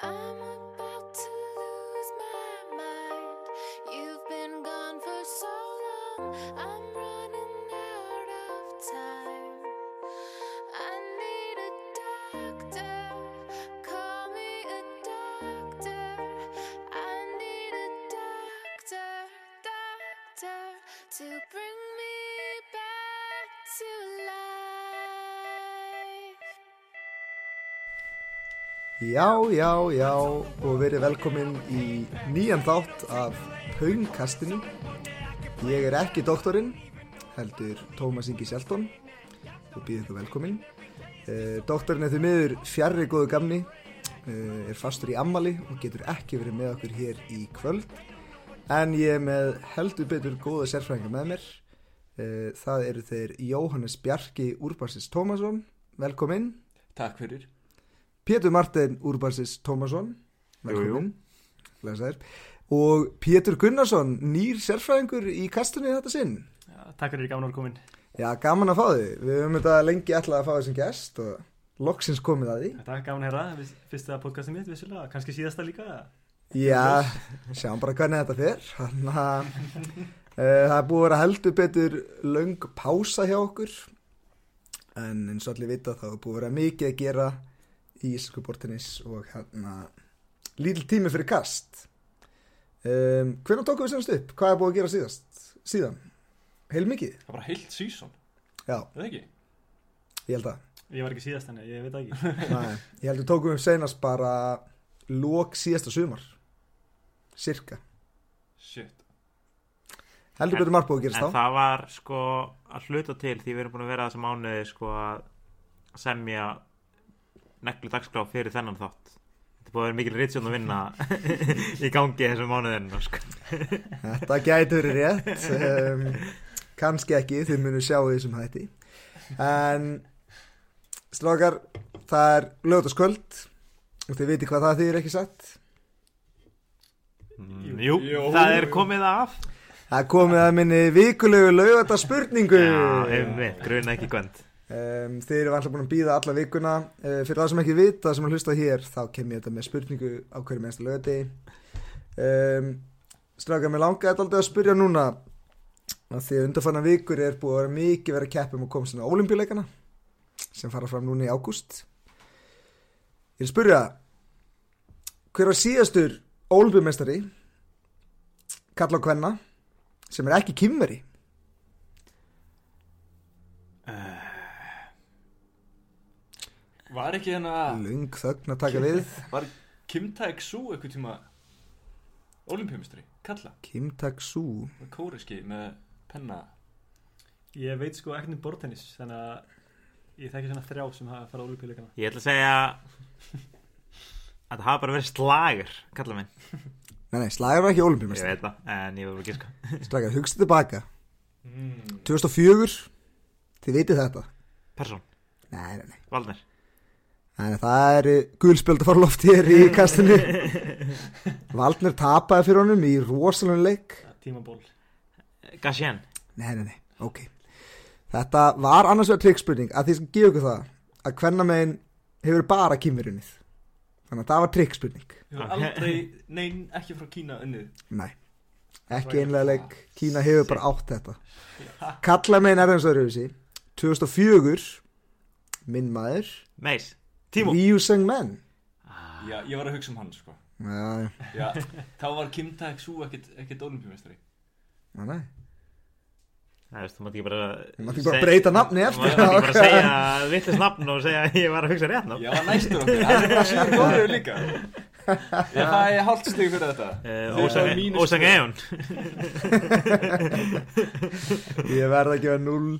I'm about to lose my mind. You've been gone for so long. I'm running out of time. I need a doctor. Call me a doctor. I need a doctor, doctor, to bring me back to life. Já, já, já og verið velkomin í nýjan þátt af Pöngkastinu. Ég er ekki doktorinn, heldur Tómas Ingi Sjelton og býð ykkur velkomin. Eh, doktorinn er því miður fjarri góðu gamni, eh, er fastur í ammali og getur ekki verið með okkur hér í kvöld. En ég er með heldur betur góða sérfræðinga með mér. Eh, það eru þeir Jóhannes Bjarki Úrbarsins Tómasson, velkomin. Takk fyrir. Pétur Martin Úrbarsis Tómasson Jú, jú. velkomin Blessaður. og Pétur Gunnarsson nýr sérfræðingur í kastunni þetta sinn Já, Takk fyrir gaman að vera komin. Já, gaman að fá þig við höfum þetta lengi ætlað að fá þessum gest og loksins komið að því Þetta er gaman að herra, fyrst, fyrsta podcastið mitt vissulega, kannski síðasta líka. Já, sjáum bara hvernig þetta fer Þannig að e, það er búið að vera heldur betur löng pása hjá okkur en eins og allir vita þá er búið að vera mikið að gera í íslensku bortinis og hérna lítil tími fyrir kast um, Hvernig tókum við semst upp? Hvað er búið að gera síðast? Síðan? Heilmikið? Það var bara heilt sísón, Já, er það ekki? ég held að Ég var ekki síðast henni, ég veit það ekki. Nei, Ég held við tókum upp seinast bara lók síðasta sumar Cirka Shit. Heldur En- betur margt búið að gerast En þá það var sko að hluta til því við erum búin að vera þessa mánuði sko að semja neglu dagskrá fyrir þennan þátt. Þetta er búin að vera mikil ritsjónd að vinna í gangi þessum mánuðinu sko. Þetta gæti verið rétt um, Kanski ekki, þið munu sjá því sem hætti En Strákar, það er lögutaskvöld Og þið viti hvað það þýðir ekki satt Jú. Mm, Jú, Jú. það er komið af. Það er komið að minni vikulegu lögutaspurningu Já, einmitt, gruna ekki gvönd. Um, þeir eru vantilega búin að býða alla vikuna uh, fyrir það sem ekki vita sem að hlusta hér þá kem ég þetta með spurningu á hverju mennstu lögati um, strafgar mig langa þetta aldrei að spyrja núna að því að undarfanna vikur er búið að vera mikið verið að keppum og komst inn á olimpíuleikana sem fara fram núna í ágúst ég er að spyrja hver var síðastur olimpíumestari kalla á kvenna sem er ekki kimmeri Var ekki hérna, lung þögn að taka við var Kim Taek-soo eitthvað tíma olimpíumistri, kalla, Kim Tak-soo með kóriski, með penna. Ég veit sko ekkert um bortennis, þannig að ég þekki svona þrjá sem hafa farað ólupíuleikana. Ég ætla að segja að það hafa bara verið slagur, kalla minn. Nei, nei, slagar var ekki Ég olimpíumestari veit það, en ég vil ekki sko. Slagar, hugstu tilbaka Mm. 2004, þið vitið þetta Persson, Nei, nei, nei Valner. Nei, nei, það eru gulspjöld að fara á loft hér í kastinu Valdner tapaði fyrir honum í rosalun leik Tímaból. Gassien, Nei, nei, nei, ok Þetta var annars vegar trikkspurning að því sem gefa ykkur það að hvernamegin hefur bara kýmurunnið Þannig að það var trikkspurning Ég var Ok. aldrei, nein, ekki frá Kína unnið. Nei, ekki einlega leik Kína hefur bara átt þetta Kalla megin er þessu öðruvísi 2004 minn maður Meis, Tímo. Ryu Seng Men Já, ég var að hugsa um hann, sko. Já, já, Já, þá var Kim Taek-soo ekkert, ekkert olimpíumistri. já, nei Nei, veist, þú mátt ekki bara Þú mátt ekki bara seg- breyta nafni Þú eftir mátt ekki bara það. segja vittis nafn og segja að ég var að hugsa rétt nafn Ég var næstur okkur, hann er bara síður góður líka. Já, það er hálft stig fyrir þetta. uh, mínus Ósang tvö. Eon Ég verða að gefa 0 uh,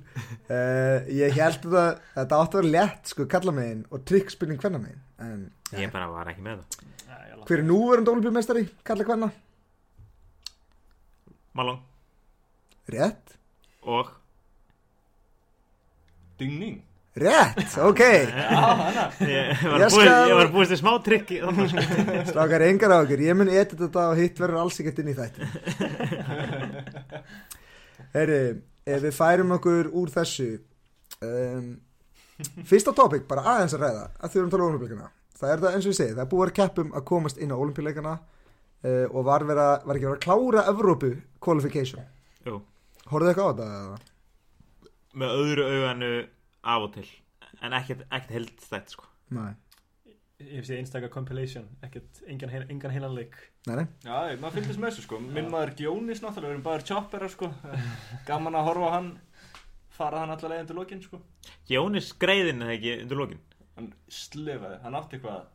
Ég held þetta Þetta átti að vera létt sko kalla megin og trikkspurning hvenna megin en, Ég bara var ekki með það Hver er núverandi ólbjörnmestari kalla hvenna? Malong Rétt og Dingning. Rétt, ok Já, hann að. Ég var, Ég búið, skal- ég var búist í smá trikki sko. þannig að- Strákar engar á okkur, ég mun edita þetta og hitt verður alls ekkert inn í þætti Herri, ef við færum okkur úr þessu um, Fyrsta topic, bara aðeins að ræða að því við erum talað um olimpíuleikana það er það eins og ég segi, það er búið að vera keppum að komast inn á olimpíuleikana uh, og var, vera, var ekki verið að klára Evrópu qualification. Jú. Horfðu eitthvað á þetta? eða? með öðru auganu af og til en ekkert, ekkert heldstætt sko. Nei, Ég hef séð einstaka compilation, ekkert, engan, heil, engan heilanleik. nei, nei. Já, ég- maður fylgist með þessu sko Minn maður Gjónis náttúrulega, við erum bæður tjópperar sko Gaman að horfa á hann Fara hann allar leiðin til lokin sko Jónis greiðin eða ekki undir lokin Hann slefaði, hann átti eitthvað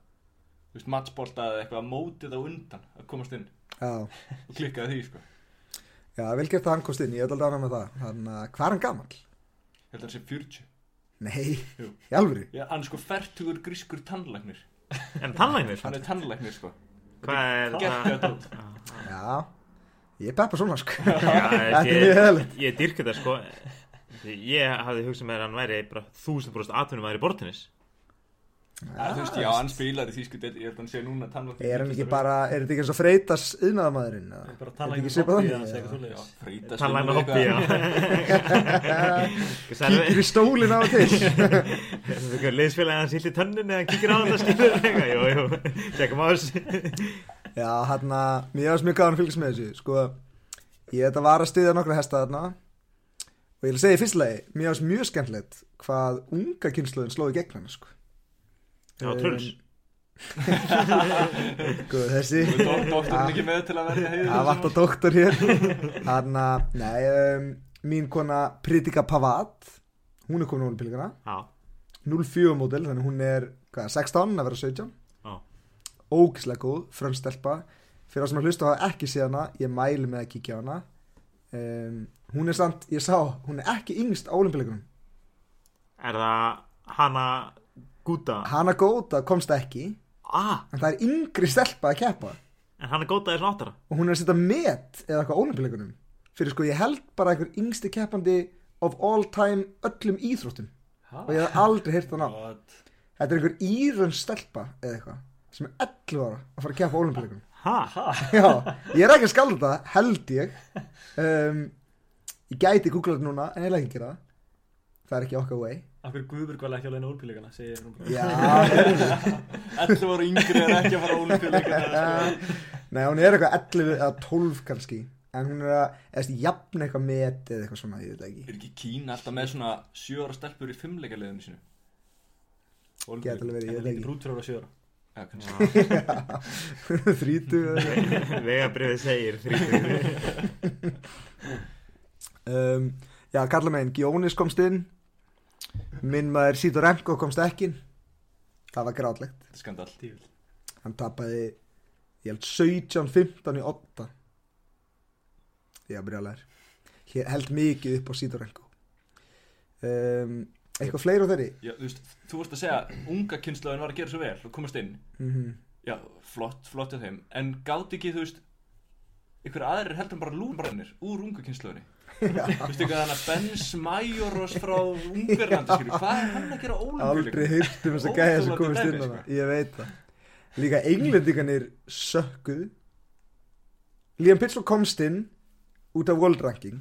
Þú veist, matchbolta eða eitthvað Mótið á undan að komast inn Já, Og klikkaði því sko já vel gert að hann komst inn, ég held aldrei annað með það. Þannig að hvað er hann gammal? Ég held að hann sé 40 Nei, Jú. í alvöru. Já, hann er sko fertugur grískur tannlæknir en tannlæknir Hann er tannlæknir sko hvað er Gekkja það dót Já, ég peppa svona sko. Já, Þetta er mjög ég, heðalegt. ég dyrka þetta sko ég hafði hugsað með að hann væri bara þúsund brúst atvinnum í bortinnis Ah, Já, þú veist, já, hann spilar í þýsku del Ég held að hann sé núna tannlæknir Er hann ekki bara, er þetta ekki eins og freytas yðnaðamæðurinn? Ég bara Er þetta tala ekki ekki svipað þannig, hobby eða eða? segja eitthvað svoleiðis. Freyta tannlækna hoppi já Kíkir í stólinn á og til. leðsfélagi hans hildi tönnin eða hann kíkir á þetta skilur eitthvað, jú, jú, tjekkum á þess Já, hérna, mér varst mjög gaman að fylgjast með þessu, sko, ég þetta var að styðja nokkra hesta þarna og ég vil segja í fyrsta lagi, mér varst mjög skemmtilegt hvað unga kynsluðin slóði gegn hann, sko. Já, Truls. Sko, þessi, Doktorinn ekki með til að verja sko. það heiður Ah. vart að doktor hér, hérna, nei, um, mín kona Pritika Pavat, hún er komin á olimpílingana, já, 04 módel, þannig hún er, hvað, 16 að vera 17 já, ógislega góð, frönstelpa fyrir það sem að hlusta hafa ekki séð hana ég mæli með að kíkja á hana um, hún er samt, ég sá hún er ekki yngst á olimpíleikunum er það hana gúta hana góta komst ekki en ah, það er yngri stelpa að keppa en hana góta er svona áttara og hún er að setja met eða eitthvað á olimpíleikunum fyrir sko ég held bara einhver yngsti keppandi of all time öllum íþróttum Ha? og ég hef aldrei heyrt hana What? þetta er einhver írun stelpa eða eitthvað sem er 11 ára að fara að keppa á olimpíleikunum ha, Já, ég er ekki að skalda þetta, held ég um, Ég gæti googlað þetta núna, en ég er ekki að gera það Það er ekki okkar way Af hverju Guðbjörg var ekki alveg inn á úrpílíkana, segir hún bara. Já, 11 ára yngri er ekki að fara á olimpíuleikana nei, hún er eitthvað 11 eða 12 kannski En hún er að, eða jafn eitthvað met eða eitthvað svona, ég veit það ekki Er ekki Kína alltaf með svona 7 ára stelpur í fimmleikaliðinu sinu? Gæti alveg verið, En ég það líti veit brútur ára sjöra. Já, kannski ekki Þrítu vegabriðið segir þrítur um, Já, kalla meginn, Gjónis komst inn Minn maður Sýtur Remko komst ekki inn. Það var grátlegt Þetta er skandal Tífil. hann tapaði ég held 17-15 í 8 ég að byrja að læra Hér held mikið upp á Sidorenko um, eitthvað fleira á þeirri Já, þú veist, þú vorst að segja Unga kynslaðin var að gera svo vel og komast inn mm Já, flott, flott af þeim En gáti ekki, þú veist Ykkur aðrir heldur en bara lúnbrannir Úr unga kynslaðinni Þú veist, ykkur þannig að Benz Majoros frá Ungarlandi skilur Hvað er hann að gera aldrei ólimpíuleikana? heyrt um þess að gæja sem Óþolandi komist inn dæmi, hana ég veit það líka englendinganir sökkuð Liam Pittslow komst inn út af world ranking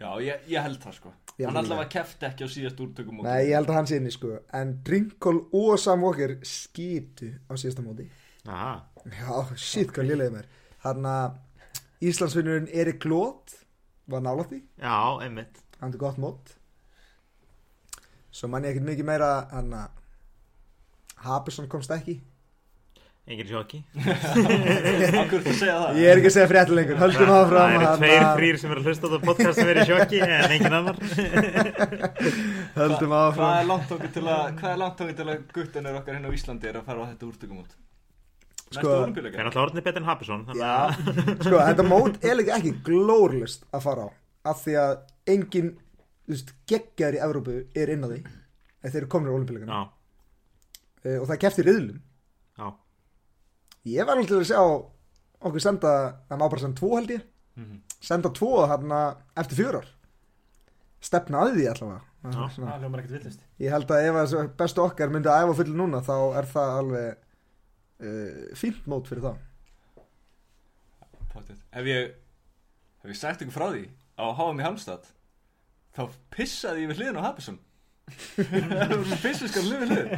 Já, ég, ég held það sko Ég Hann held allavega kefti ekki á síðast úrtökum nei ég held að hann sé inni sko en Drinkol og Sam Walker skýtu á síðasta móti aha, Já, shit, hvað lélegið mér Þannig að Íslandsvinnurinn Erik Glót var nálægt í já, einmitt hann er gott mót Svo mann ég ekkert mikið meira hann að Habersson komst ekki enginn sjóki Akkur þú segja það Ég er ekki að segja frétt lengur, höldum áfram það eru tveir, hann að- þrýr sem eru að hlusta á þetta podcast sem eru í sjokki en engin annar Höldum Hvað er áfram langt okkur til að Hvað er langt okkur til að guttanur okkar hérna á Íslandi er að fara á þetta úrtökum út? Næsta Sko- Það er olimpíuleika? alltaf orðinni betur en Happison þannig að Já, sko, þetta mót er líka ekki glórlust að fara á af því að engin geggjar í Evrópu er inn á því ef þeir eru komin á olimpíuleikana Já, og það kefti riðlum já, Ég var alveg til að sjá okkur senda, það má bara senda tvo held ég Mhm. senda tvo hérna eftir fjörar stefna að því allavega Já. Svona, Það hljómar ekkert villist. ég held að ef að þessi bestu okkar myndi að æfa fullu núna þá er það alveg uh, fínt mót fyrir þá Pottþétt. Hef ég Hef ég sagt ykkur frá því á HM í Halmstad þá pissaði ég við hliðin á Habersson Fiskfiskar hlifið hlið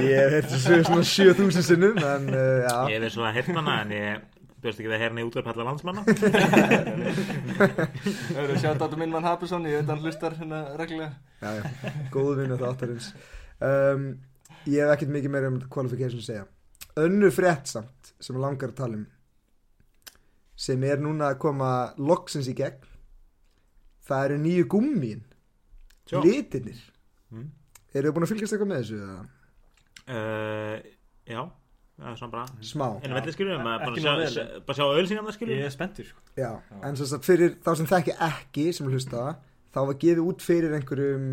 Ég hef heyrt þessu sögu svona 7000 sinnum En uh, Ég já, hef verið svona hirtana en ég bjóst ekki við að herna í útvarp allar landsmanna. Það eru að sjá dátum minn mann Hapusson Ég veit að hann hlustar hérna reglulega já, já, góð vinna þáttarins um, Ég hef ekkert mikið meira um qualification að segja Önnu frétt samt sem mig langar að tala um sem er núna að koma loksins í gegn Það eru nýju gúmmín Tjó. Litinir Mm. Eru þið búin að fylgjast eitthvað með þessu? eða? Uh, já, það er svona bara Hérna Smá, En að velli skiljum, bara Ekki sjá, nóg vel. sjá, bara sjá ölsingarna skiljum Ég er spenntur sko. já, en svo að fyrir þá sem þekki ekki sem hlusta þá var gefið út fyrir einhverjum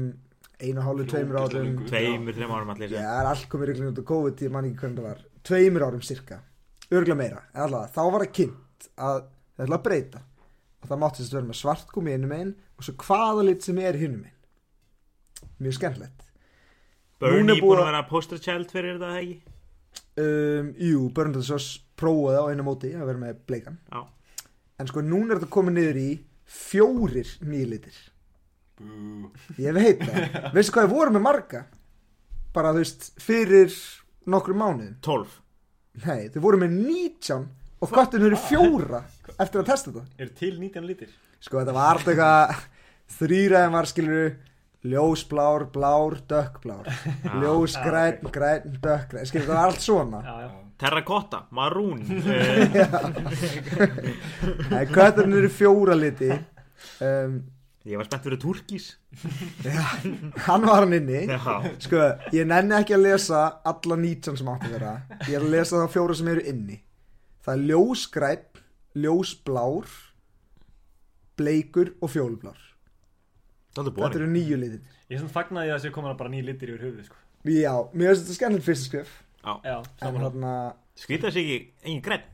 einu og hálfu, tveimur Ógeðslega árum löngu. Tveimur, þreim árum allir Já, það er allt komið reglum út á COVID ég man ekki hvernig það var, tveimur árum cirka örgulega meira, en allavega þá var það kynnt að það ætla að breyta og það mátti þess að vera með svart gumi innum einn og svo hvaða lit sem er hinum einn mjög skemmtilegt Núna Bernie er búið búin að- að vera poster child fyrir þetta eða ekki um, Jú, Burnley Soss prófaði á einu móti að vera með bleikan Já, en sko núna er þetta komið niður í fjórir nýlitir Bú. Ég veit það, veistu hvað ég voru með marga bara þú veist fyrir nokkru mánuðin, 12 nei þau voru með 19 og kvartin eru fjóra eftir að testa þetta Er til 19 litir? sko þetta var alltaf eitthvað þrýraðin var skilur ljósblár, blár, dökkblár ljósgræn, græn, dökkgræn skilur þetta var allt svona Já, já Terracotta, Maroon uh, nei, kvartin eru fjóra liti um, Ég var spennt fyrir Turkis hann var hann inni Já, Sko, ég nenni ekki að lesa alla 19 sem átti að vera Ég er að lesa þá fjóra sem eru inni Það er ljósgræn, ljósblár, bleikur og fjólublár það er Þetta búin eru nýju litin Ég er svona fagnaði að það séu komin bara nýjir litir yfir höfuð sko. Já, mér finnst þetta skemmtilegt fyrsta skrif Já, En saman hérna, Skrýta sig ekki, engin grein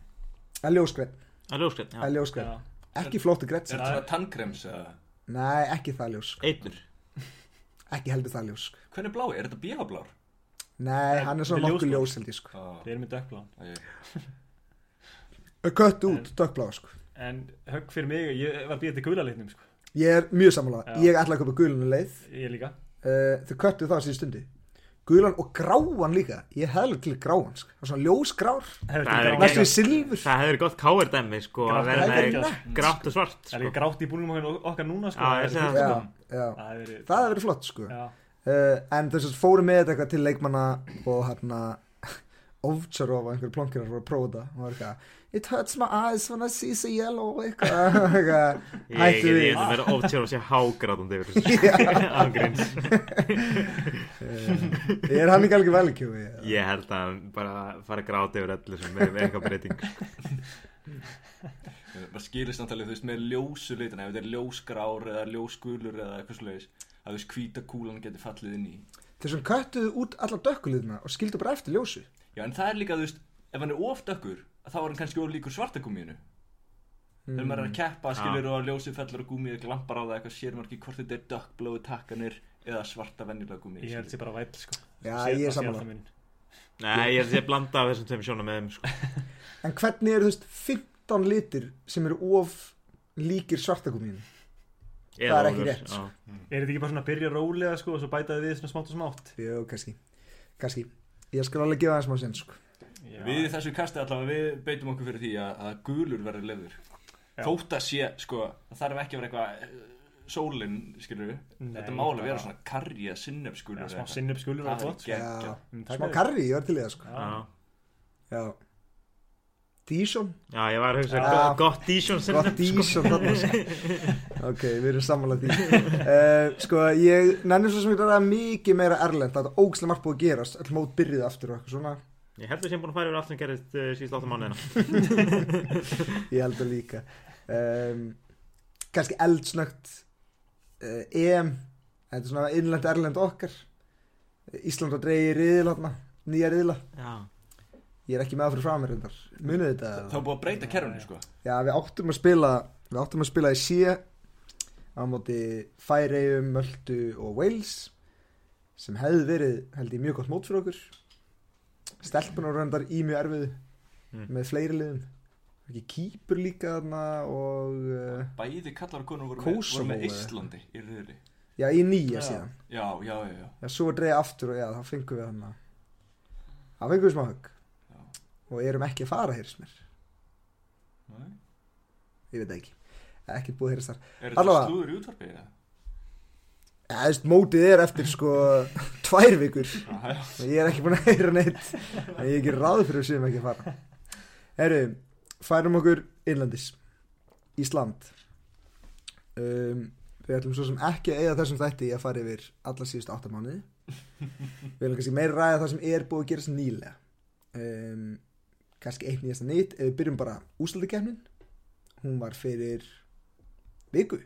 að ljósgræn, Það er ljóskrein, að já ljósgræn Já. Ekki flóttu græn Er þetta svona tannkrems eða? Nei, ekki það ljósk, Eitur ekki heldur það ljósk Hvernig blá? Er þetta bífablár? Nei, hann er svona Þetta er nokkuð ljósblár. ljós held ég sko Við erum í dökkblán Kött út, dökkblá sko En högg fyrir mig, ég var býðið til gula litnum sko. Ég er mjög sammála, Já. ég ætla að köpa gulinu leið Ég líka uh, þau köttu það síðan stundi gulan og gráan líka ég hefði til gráan sko. það er svona ljósgrár Það Það er er næstu ekki- í silfur Það hefur gott káir dæmi, sko Grátt að vera og með grátt. Grátt og svart, Það er sko líka grátt í búlum okkar, okkar núna sko. Já, ég já, já. Það er fullt, sko. Það er segi verið það hefur verið flott sko. uh, Já, en þess að fóru með þetta eitthvað til leikmanna og hérna Ovcharov og einhverjum plonkirar voru að prófa þetta og var eitthvað it hurts my eyes when I see the yellow eitthvað eitthvað. Ég hættu get við ég að vera oft sér að sé hágrátandi yfir þessu sko. Ángríns Eh, er hann ekki alveg velkjófi Ég held að hann bara fara að gráta yfir öllu sem er með eitthvað breyting Bara skilist náttúrulega, þú veist, með ljósu litina Ef þetta er ljósgrár eða ljósgulur eða eitthvað svoleiðis Að þú veist, hvíta kúlan getur fallið inn í þessum köttuðu út allar dökkuliðna og skildu bara eftir ljósu Já, en það er líka, þú veist, ef hann er ofdökkur Þá er hann kannski ólíkur svartagúmíinu Þegar Mm. maður er að Mm. keppa, skilur og ljósið fellur á gúmíu Glampar á það eitthvað, sér maður ekki hvort þetta er dökkblóðu takkanir Eða svarta venjulega gúmíu ég held skilur. sér bara væl sko. já Sé- ég það er sé saman alltaf minn. Nei, ég held að sé blanda af þessum tveim sjónum með þeim, sko En hvernig eru þú veist 15 litir sem eru of líkir svartakumínu? Eða er ekki Ólafur, rétt, já. sko. Er þetta ekki bara svona að byrja rólega sko, og svo bætaði við svona smátt og smátt Jú, kannski, kannski. Ég skal alveg gefa það smá sinn, sko. Já, Við í þessu kasti allavega, við beitum okkur fyrir því að, að gulur verður lefður Já. Þótt að sé, sko, það þarf ekki að vera eitthvað eh, Sólin, skilur Nei, Þetta mála bara- vera svona karja sinnefsgulur Já, smá sinnum skulur Það var er gott sko. gegn. Já, Mm, takk smá fyrir. karri, ég var til í það, sko. Já. Já. Dísson? Já, ég var að hugsa, Já. gott, gott dísjón sem Gott dísson þarna, sko. Ok, við erum samanlega því. Uh, sko, ég nennir svo sem ég ræða mikið meira erlend. Það er ógæslega margt búið að gerast. All mót byrjuð aftur og eitthvað svona. Ég held að við séum búin að fara yfir allt sem gerist uh, síðust áttum mánuðina Ég held að líka. Um, kannski eldsnögt uh, EM. Þetta er svona innlend erlend okkar. Ísland að dreigi riðil hérna. Nýja riðila. Já, Ég er ekki með að fyrir framir hendar. Munið þetta? Það er búið að breyta kerfinu sko Já, við áttum að spila, við áttum að spila í síða á móti Færeyjum, Möldu og Wales sem hefði verið, held ég, mjög gott mót fyrir okkur. Stelpunar reyndar í mjög erfiðu Mm. með fleiri liðum. Ekki Kýpur líka þarna og... Uh, Bæði kallar og konur voru með, Kosovo, voru með eða? Íslandi í riðli já, í nýja Já. síðan já, já, já, já. já, svo er dreigð aftur og já, þá fengum við hann að þá fengum við smá högg Já. og erum ekki að fara, heyrðis mér Nei. ég veit það ekki, ekki búið að heyrðist þar Er þetta Allavega. slúður í útvarpi? eða? já, þú veist, mótið er eftir sko tvær vikur Já, já. og ég er ekki búin að heyra neitt en ég er ekki ráð fyrir að séum ekki að fara herru, færum okkur innlandis, Ísland um, við ætlum svo sem ekki að eiga þessum þætti í að fara yfir alla síðustu áttamánuði við viljum kannski meira ræða það sem er búið að gerast nýlega um, kannski eitt nýjasta nýtt ef við byrjum bara úsaldikefnin hún var fyrir viku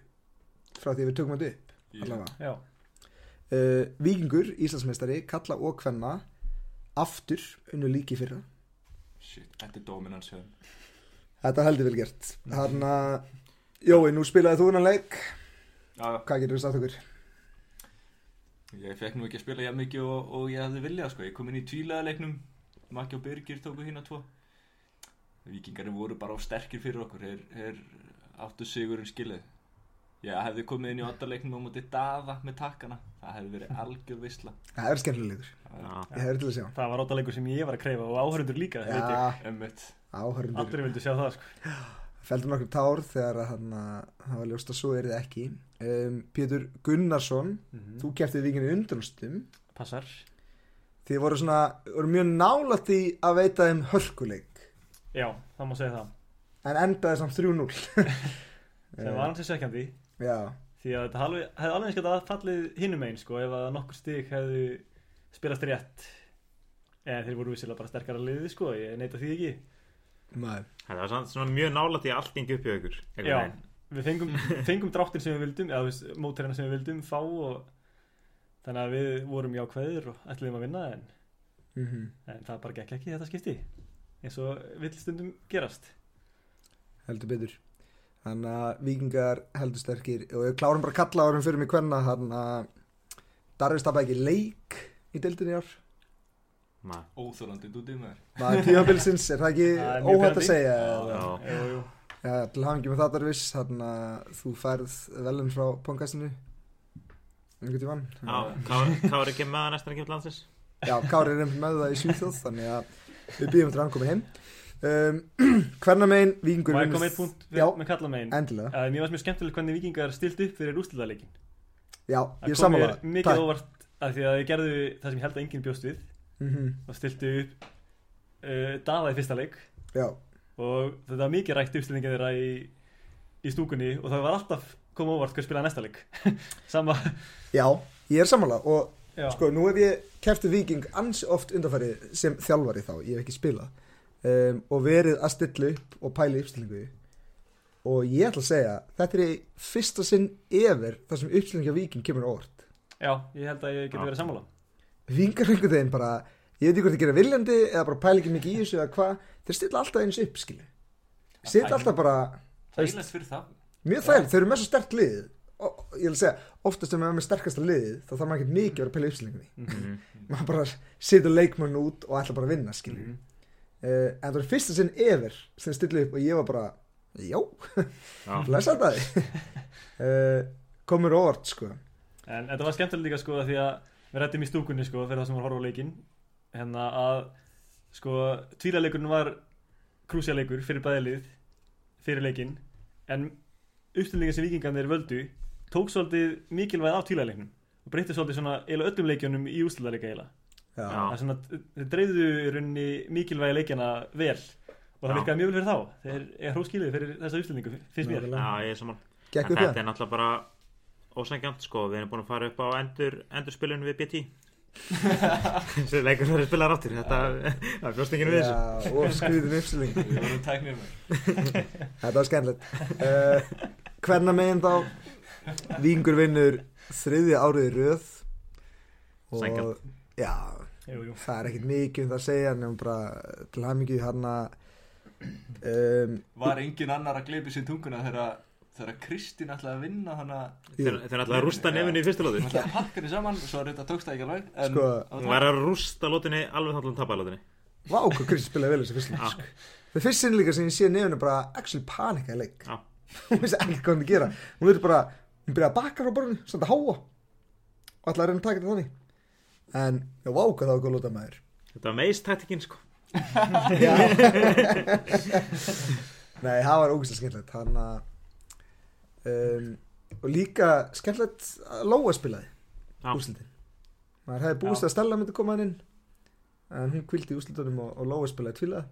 frá því að við tökum þetta upp Ég- allavega Já, uh, Víkingur, Íslandsmeistari, kalla og kvenna aftur unnu líki fyrra Shit, þetta er dominans hefðan. Þetta er heldur vel gert Hann að, Jói, nú spilaði þú hennan leik Já, já. Hvað getur þú sagt okkur? Ég fekk nú ekki að spila jafn mikið og, og ég hefði viljað sko. Ég kom inn í tvílaðaleiknum, Maki og Birgir tóku hérna tvo. Víkingarnir voru bara á sterkir fyrir okkur, þeir, þeir áttu sigurinn skilið. Ég hefði komið inn í oddaleiknum á móti daða með takkana. Það hefði verið algjör visla. Það er skemmtilegur, Já. ég hefur til að sjá það var óttaleikur sem ég var að kreifa og áhörundur líka, ja. veit ég. Já, Emmett. áhörundur Aldrei vildi sjá það, sko. Feldur nokkur tár þegar að hann að það var ljóst að svo er þið ekki um, Pétur Gunnarsson Mm. Þú keftið vikinu undanustum Mhm, Passar. Þið voru svona, voru mjög nála því að veita þeim hörkuleik Já, það má segja það. En endaði samt 3-0 Eh. Sem var hans í sekjandi. Já, Því að þetta alveg- hefði alveg eins geta fallið hinum einn, sko, ef að nokkur stig hefði spilast rétt. En þeir voru vissilega bara sterkara liðið, sko, ég neita því ekki. maður Þetta var samt svona mjög nálægt í að allt gengi upp í aukur. Já, við fengum, fengum dráttin sem við vildum eða þú veist, mótherjana sem við vildum fá og þannig að við vorum jákvæðir og ætliðum að vinna en, mm en það bara gekk ekki í þetta skipti eins og vill stundum gerast heldur betur þannig að vikingar heldur sterkir og við klárum bara að kalla árum fyrir mig hvenna þannig að Darvis tappa ekki leik í deildinni í ár Nei. Óþólandi dútið með þér. maður tímabilsins, er það Það er ekki mjög óhætt að pirrandi. segja Já. eða? jú, jú. ja, til hafingi með það Darvis þannig að þú færð velum frá pónkastinu einhvern tímann Já, Ká- Kári kemur með það næst en ekki upp landsins. Já, Kári er einmitt með það í Svíþjóð þannig að við býðum til að hann komi heim um, hvernig megin vikingur Má ég vinnur- koma eitt punkt við, Já, með kalla megin endilega mér varst mjög skemmtilegt hvernig vikingar stilt upp fyrir úrslitaleikin Já, ég það kom samála mér mikið óvart að því að þið gerðu það sem ég held að enginn bjóst við mm og stiltu upp uh, Daða í fyrsta leik Já, og þetta var mikið rætt uppstillingin þeirra í, í stúkunni og það var alltaf koma óvart hver spilaði næsta leik sama Já, ég er sammála og já, sko, nú hef ég keftið Viking ansi oft undanfarið sem þjálfari þá, ég hef ekki spilað um, og verið að stilla upp og pæla í uppstillingu og ég ætla að segja, þetta er í fyrsta sinn yfir þar sem uppstillingu á Viking kemur á orð. já, ég held að ég geti Já. verið sammála Vingar einhvern veginn bara, ég veit ekki hvort þið gera viljandi eða bara pæla ekki mikið í þessu eða hvað, þeir stilla alltaf eins upp, skilu. Stilla alltaf bara, Þægilegt fyrir það. mjög þægilegt, þeir eru með svo sterkt lið og og ég vil segja, oftast þegar maður er með sterkasta liðið þá þarf maður ekkert mikið að vera að pæla í uppstillingunni Mhm. maður bara setur leikmann út og ætla bara að vinna skilur Mhm. mm en það var fyrsta sinn yfir sem stillið upp og ég var bara já, Já. blessa það uh, komur óvart sko en þetta var skemmtilega líka sko því að við rættum í stúkunni sko fyrir það sem var að horfa á leikinn hérna að sko tvílaleikurinn var krúsjaleikur fyrir bæðilið fyrir leikinn en uppstillingin sem vikingarnir völdu tók svolítið mikilvæg af tvílaleiknum og breytti svolítið svona eiginlega öllum leikjunum í úrslitaleika eiginlega já, Já. það er svona, þeir dreifðu í rauninni mikilvægi leikjana vel og það Já. virkaði mjög vel fyrir þá þeir er hróskilið fyrir þessa uppstillingu finnst mér nákvæmlega. Já, ég er saman. En gekk upp þetta það er náttúrulega bara ósengjant, sko. Við erum búin að fara upp á endur, endurspilun við BT. Svo leikur það er spilað ráttir. Þetta það er fljóstingin við þessu. já, og skriðin uppstilling Við vorum tæknir með. þetta var skemmtilegt uh, hvernig megin þá vingur vinnur þriðja árið í röð og Sanngjarnt. já, jú, jú. það er ekkert mikið um það að segja nefnum bara til hamingju hann um, Var engin annar að gleipi sér tunguna þegar þegar Kristín ætlaði að vinna hana Þeir þeir eru alltaf að rústa nefninu í fyrstu Hún lótu. ætlaði að pakka henni saman svo reynda tókst það ekki alveg en Sko, Hún var að rústa lótunni alveg þáttum tapalótunni. Vá, hvað Chris spilaði vel þessi fyrst leik sko. Það fyrst sinn líka sem ég sé nefnir bara actually panika í leik Já. Hún vissi ekki hvað hann að gera Hún verður bara, hún byrjaði að bakka frá borðinu, samt að háa og ætlaði að reyna að taka þetta þannig en já, vá, hvað það var góð lóta maður Þetta var meist taktikinn sko Já. Nei, það var ógæslega skemmtilegt hann að um, og líka skemmtilegt að Lóa spilaði Já. úrslitin maður hefði búist Já. að Stella myndi koma hann inn en hún kvildi í úrslitunum og, og Lóa spilaði tvílaða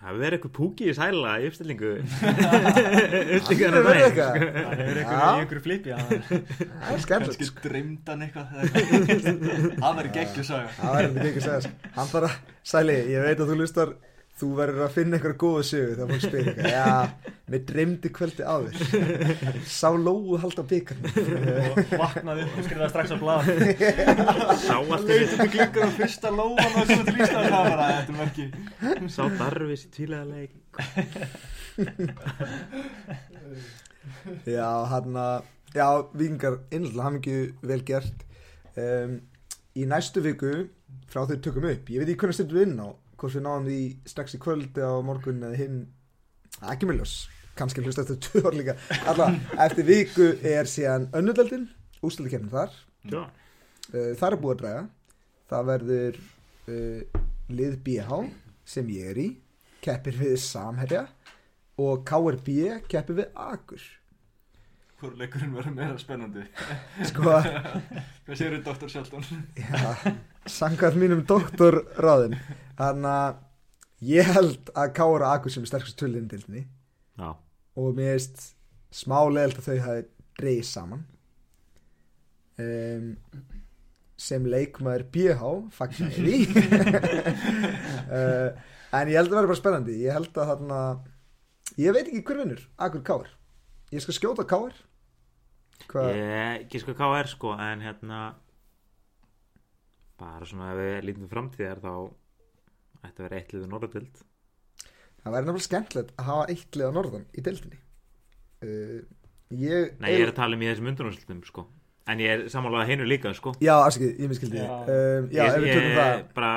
Það verður eitthvað púki í sæla í uppstillingu Það Uppstillingu er verið eitthvað. Það hefur einhver Já. í einhverju flipi hann. Það er skemmtilegt kannski sko. dreymdan eitthvað það verður geggju saga Það verður ekki að segja sko. Hann bara, Sæli, ég veit að þú lustar Þú verður að finna eitthvað góða sögu þegar fólk spyrir eitthvað Já, mér dreymdi kvöldi á þér Sá Lóu halda byggarn og vaknaði upp og skrifaði strax á blad Sá allt í Þú gluggar á fyrsta lóan og svo til Íslands það bara, þetta er merki þessu Sá Darvis í tvílega leik Já, hann að Já, vikingar innlega hamingju vel gert um, Í næstu viku frá þeir tökum upp Ég veit ekki hvernig stundum við inn á Hvort við náðum því strax í kvöld eða á morgun eða hinn Það er Ekki mjög ljós kannski hlust eftir tvö ár líka Alla, eftir viku er síðan önnudeldin Úslandikefnin þar Já, Uh, Það er búið að draga Það verður uh, lið BH sem ég er í keppir við Samherja og KRB keppir við Akur Hvor leikurinn verður meira spennandi Sko, Hvað segir þú, Dr. Sheldon? já, sangað mínum doktorráðin Þannig að ég held að KR og Akur sem er sterkast tullin dildinni Já. og mér veist smá leðilt að þau hafi dreigð saman um, sem leikmaður BH fagnar ég því uh, en ég held að vera bara spennandi ég held að þarna ég veit ekki hver vinnur, akkur káir ég skal skjóta káir hvað, Ég gíska hvað er sko en hérna bara svona ef við lítum til framtíðar þá ætti að vera eitt liður norðutild það væri nefnilega skemmtilegt að hafa eitt lið á norðan í deildinni uh, ég Nei, ég er að tala um í þessum undurnarslítum sko en ég er sammálaða hinu líka sko já, afskið, ég miskildi Já. um, já, ég, ef við tökum það ég, bara,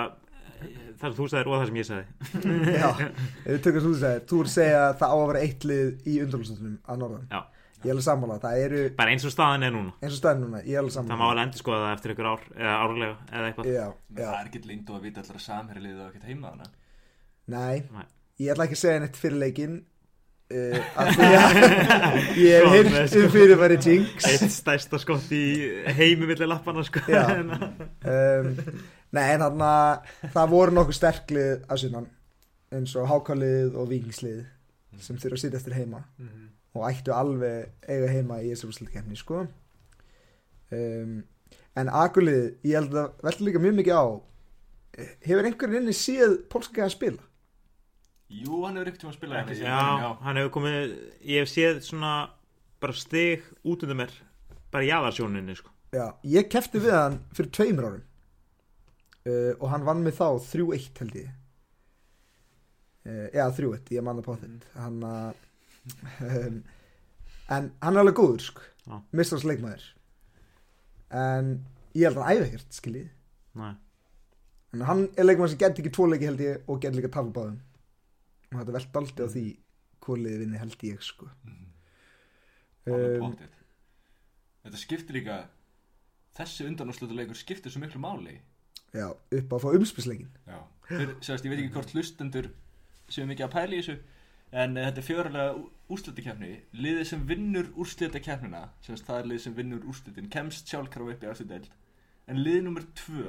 það sem þú sagðir og það sem ég sagði Já, ef við tökum svo þú segir Þú er að segja að það á að vera eitt lið í undanlústunum að norðan Já. Ég er alveg sammála, það eru bara eins og staðan er núna eins og staðin núna Ég er alveg það má sammála alveg endur skoða það eftir ykkur ár eða árlega eða eitthvað Já, já, Það er ekkert lind og að vita allra samherlið og ekkert heima hana nei Nei. Ég ætla ekki að segja neitt fyrir leikinn uh, af því að Ég hef Góð með, hýrt um fyrirbæri Jinx eitt stærsta skott í heimi millir lappana sko Já. En- um, Nei, en þarna Það voru nokkuð sterklið að sunnan eins og hákalið og vikingslið sem þurfa að sitja eftir heima og ættu alveg eiga heima í þessu úrslutkefni sko um, en Akulið ég held að velta líka mjög mikið á eh, hefur einhverjum inni séð pólska gæða að spila? Jú, hann hefur ekkert tíma að spila Ekki hérna. séð. Já, hann hefur komið ég hef séð svona bara stig út undan mér bara í jæðarsjóninni sko Já, ég kefti við hann fyrir tveimur árum uh, og hann vann mig þá 3-1 held ég uh, já 3-1, ég manna på þitt hann að um, en hann er alveg góður sko Já. mistars leikmaður en ég held að hann æfi ekkert skiljið Nei. en hann er leikmaður sem geti ekki tvo leiki held ég og geti líka tafa báðum og þetta velt aldrei á því hvoliði vinni held ég sko Alveg um, pottþétt. Þetta skiptir líka þessi undanúrslutaleikur skiptir svo miklu máli já, upp á að fá umspilsleikin Já Þeir, Sjást, ég veit ekki hvort hlustendur séu mikið að pæla í þessu en eh, þetta er fjörulega úrslutakefni liðið sem vinnur úrslutakefnina sjást, það er liðið sem vinnur úrslutin kemst sjálfkrafa upp í ástudeld en liðið nummer tvö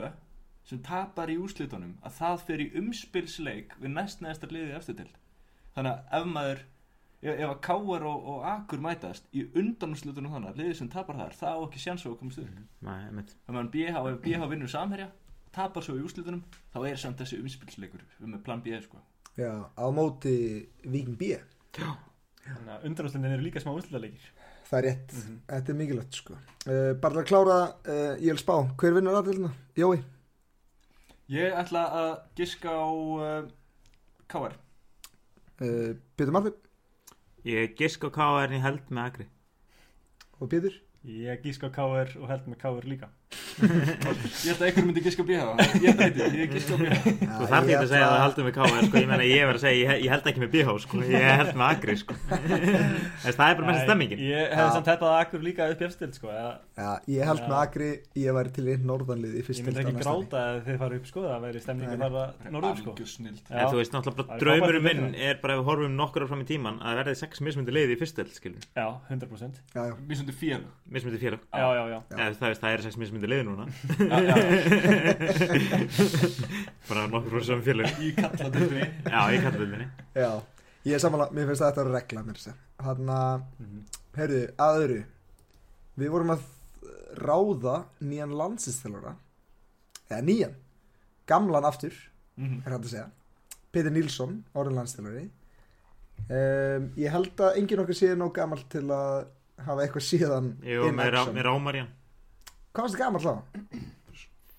sem tapar í úrslutunum að það fer í umspilsleik við næstnæðasta liðið í ástudeld þannig að ef maður e, ef, ef að Káar og, og Akur mætast í undanúrslutunum þannig að liðið sem tapar þar það á ekki sjans á að komast upp Nei, einmitt. Þannig að BH, ef BH vinnur samherja tapar svo í úslitunum, þá er samt þessi umspilsleikur með plan B sko. já, á móti Víking B Þannig að undanúslindin eru líka smá úrslutaleikir Það er rétt, Mhm. þetta er mikilvægt sko uh, Bara til að klára, uh, ég vil spá Hver vinnur aðdelina? Jói, Ég ætla að giska á uh, KR uh, Pétur Martin ég gisk á hvað er ég held með agri og Pétur Ég gísk á K.R. og held með K.R. líka Ég held að einhver myndi giska á BH Ég breyti, ég giska á BH Þú þarf ekki að segja að það heldur með káa sko. Ég meina ég verð að segja, ég, ég held ekki með BH sko. Ég held með agri sko. Þess, Það er bara mesta stemmingin Ég Já. hefði samt heppað að akkur líka upp í efstild sko eða, Já, ég held Já. með Akri, ég væri til einn norðanlið í fyrst Ég myndi deild á ekki næsta ári. gráta að þið fara upp sko Það væri stemningi Nei. að fara norður sko Algjör snilld Já. En þú veist náttúrulega Það er bara frábært draumurinn að minn vita. er bara ef við horfum nokkur ára fram í tíman að það verði sex mismundi leiði í fyrstöld skilur Já, 100% Já, já. Mér sem þetta félag mismundi félag Já, já, já Já. Eða, það, veist, það er sex mismundi leiði núna bara nokkur frá saman félag Í kalla dildinni Já, ég kallar þetta Já, ég er samanlega, mér finnst þetta að vera regla mér sér. Þannig að, heyrðu, að öðru. Við vorum að ráða nýjan landsinsþjálfara, eða nýjan, gamlan aftur, Mhm. er hægt að segja, Peter Nilsson, orðin landsinsþjálfari. Um, ég held að engin okkar séð nóg gammal til að hafa eitthvað síðan Jú, in með, rá, action. með rámar í hann Hvað varst það gammal þá?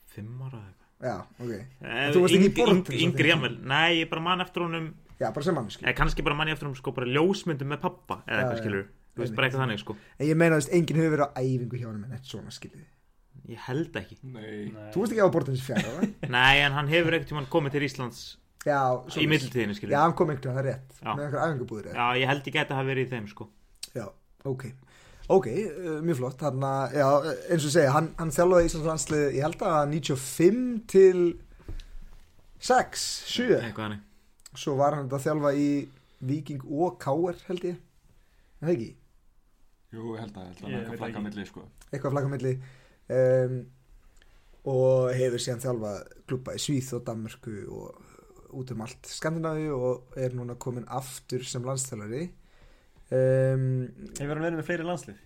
Fimm ára eða eitthvað Já, ok. Eh, Þú varst ekki í yng- borg yng- til þess að Yngri finna. jamvel Nei, ég bara man eftir honum Já, bara sem mannski. eða kannski bara man ég eftir honum sko bara ljósmyndum með pappa eða Já, eitthvað já. skilur Þú veist Einmitt. bara eitthvað þannig sko En ég meina, þú veist, enginn hefur verið á æfingu hjá honum en eitt svona skiljiði. Ég held ekki Nei Þú veist ekki á bortins fjara, það? Nei, en hann hefur ekkert tímann komið til Íslands Já, í svoleiðis. mittiltíðinu skilur Já, hann kom einhvern veginn, það er rétt. Já. Með einhverja æfingabúðir eða. Já, ég held ég geti að hafa verið í þeim sko Já. ok. Ok, uh, mjög flott. Þannig að, já, eins og segja, hann, hann þjálfaði Íslands landslið, ég held að 95 til 6, 7. Eitthvað þannig Svo var hann að þjálfa í Viking og Káer, held ég. En það ekki, Jú, ég held að ég held að hann Ég veit eitthvað flagga ekki. milli sko eitthvað flakamilli. Um, og hefur síðan þjálfað klubba í Svíð og Danmörku og út um allt Skandinavíu og er núna komin aftur sem landstælari. Um, Hefur hann verið með fleiri landslið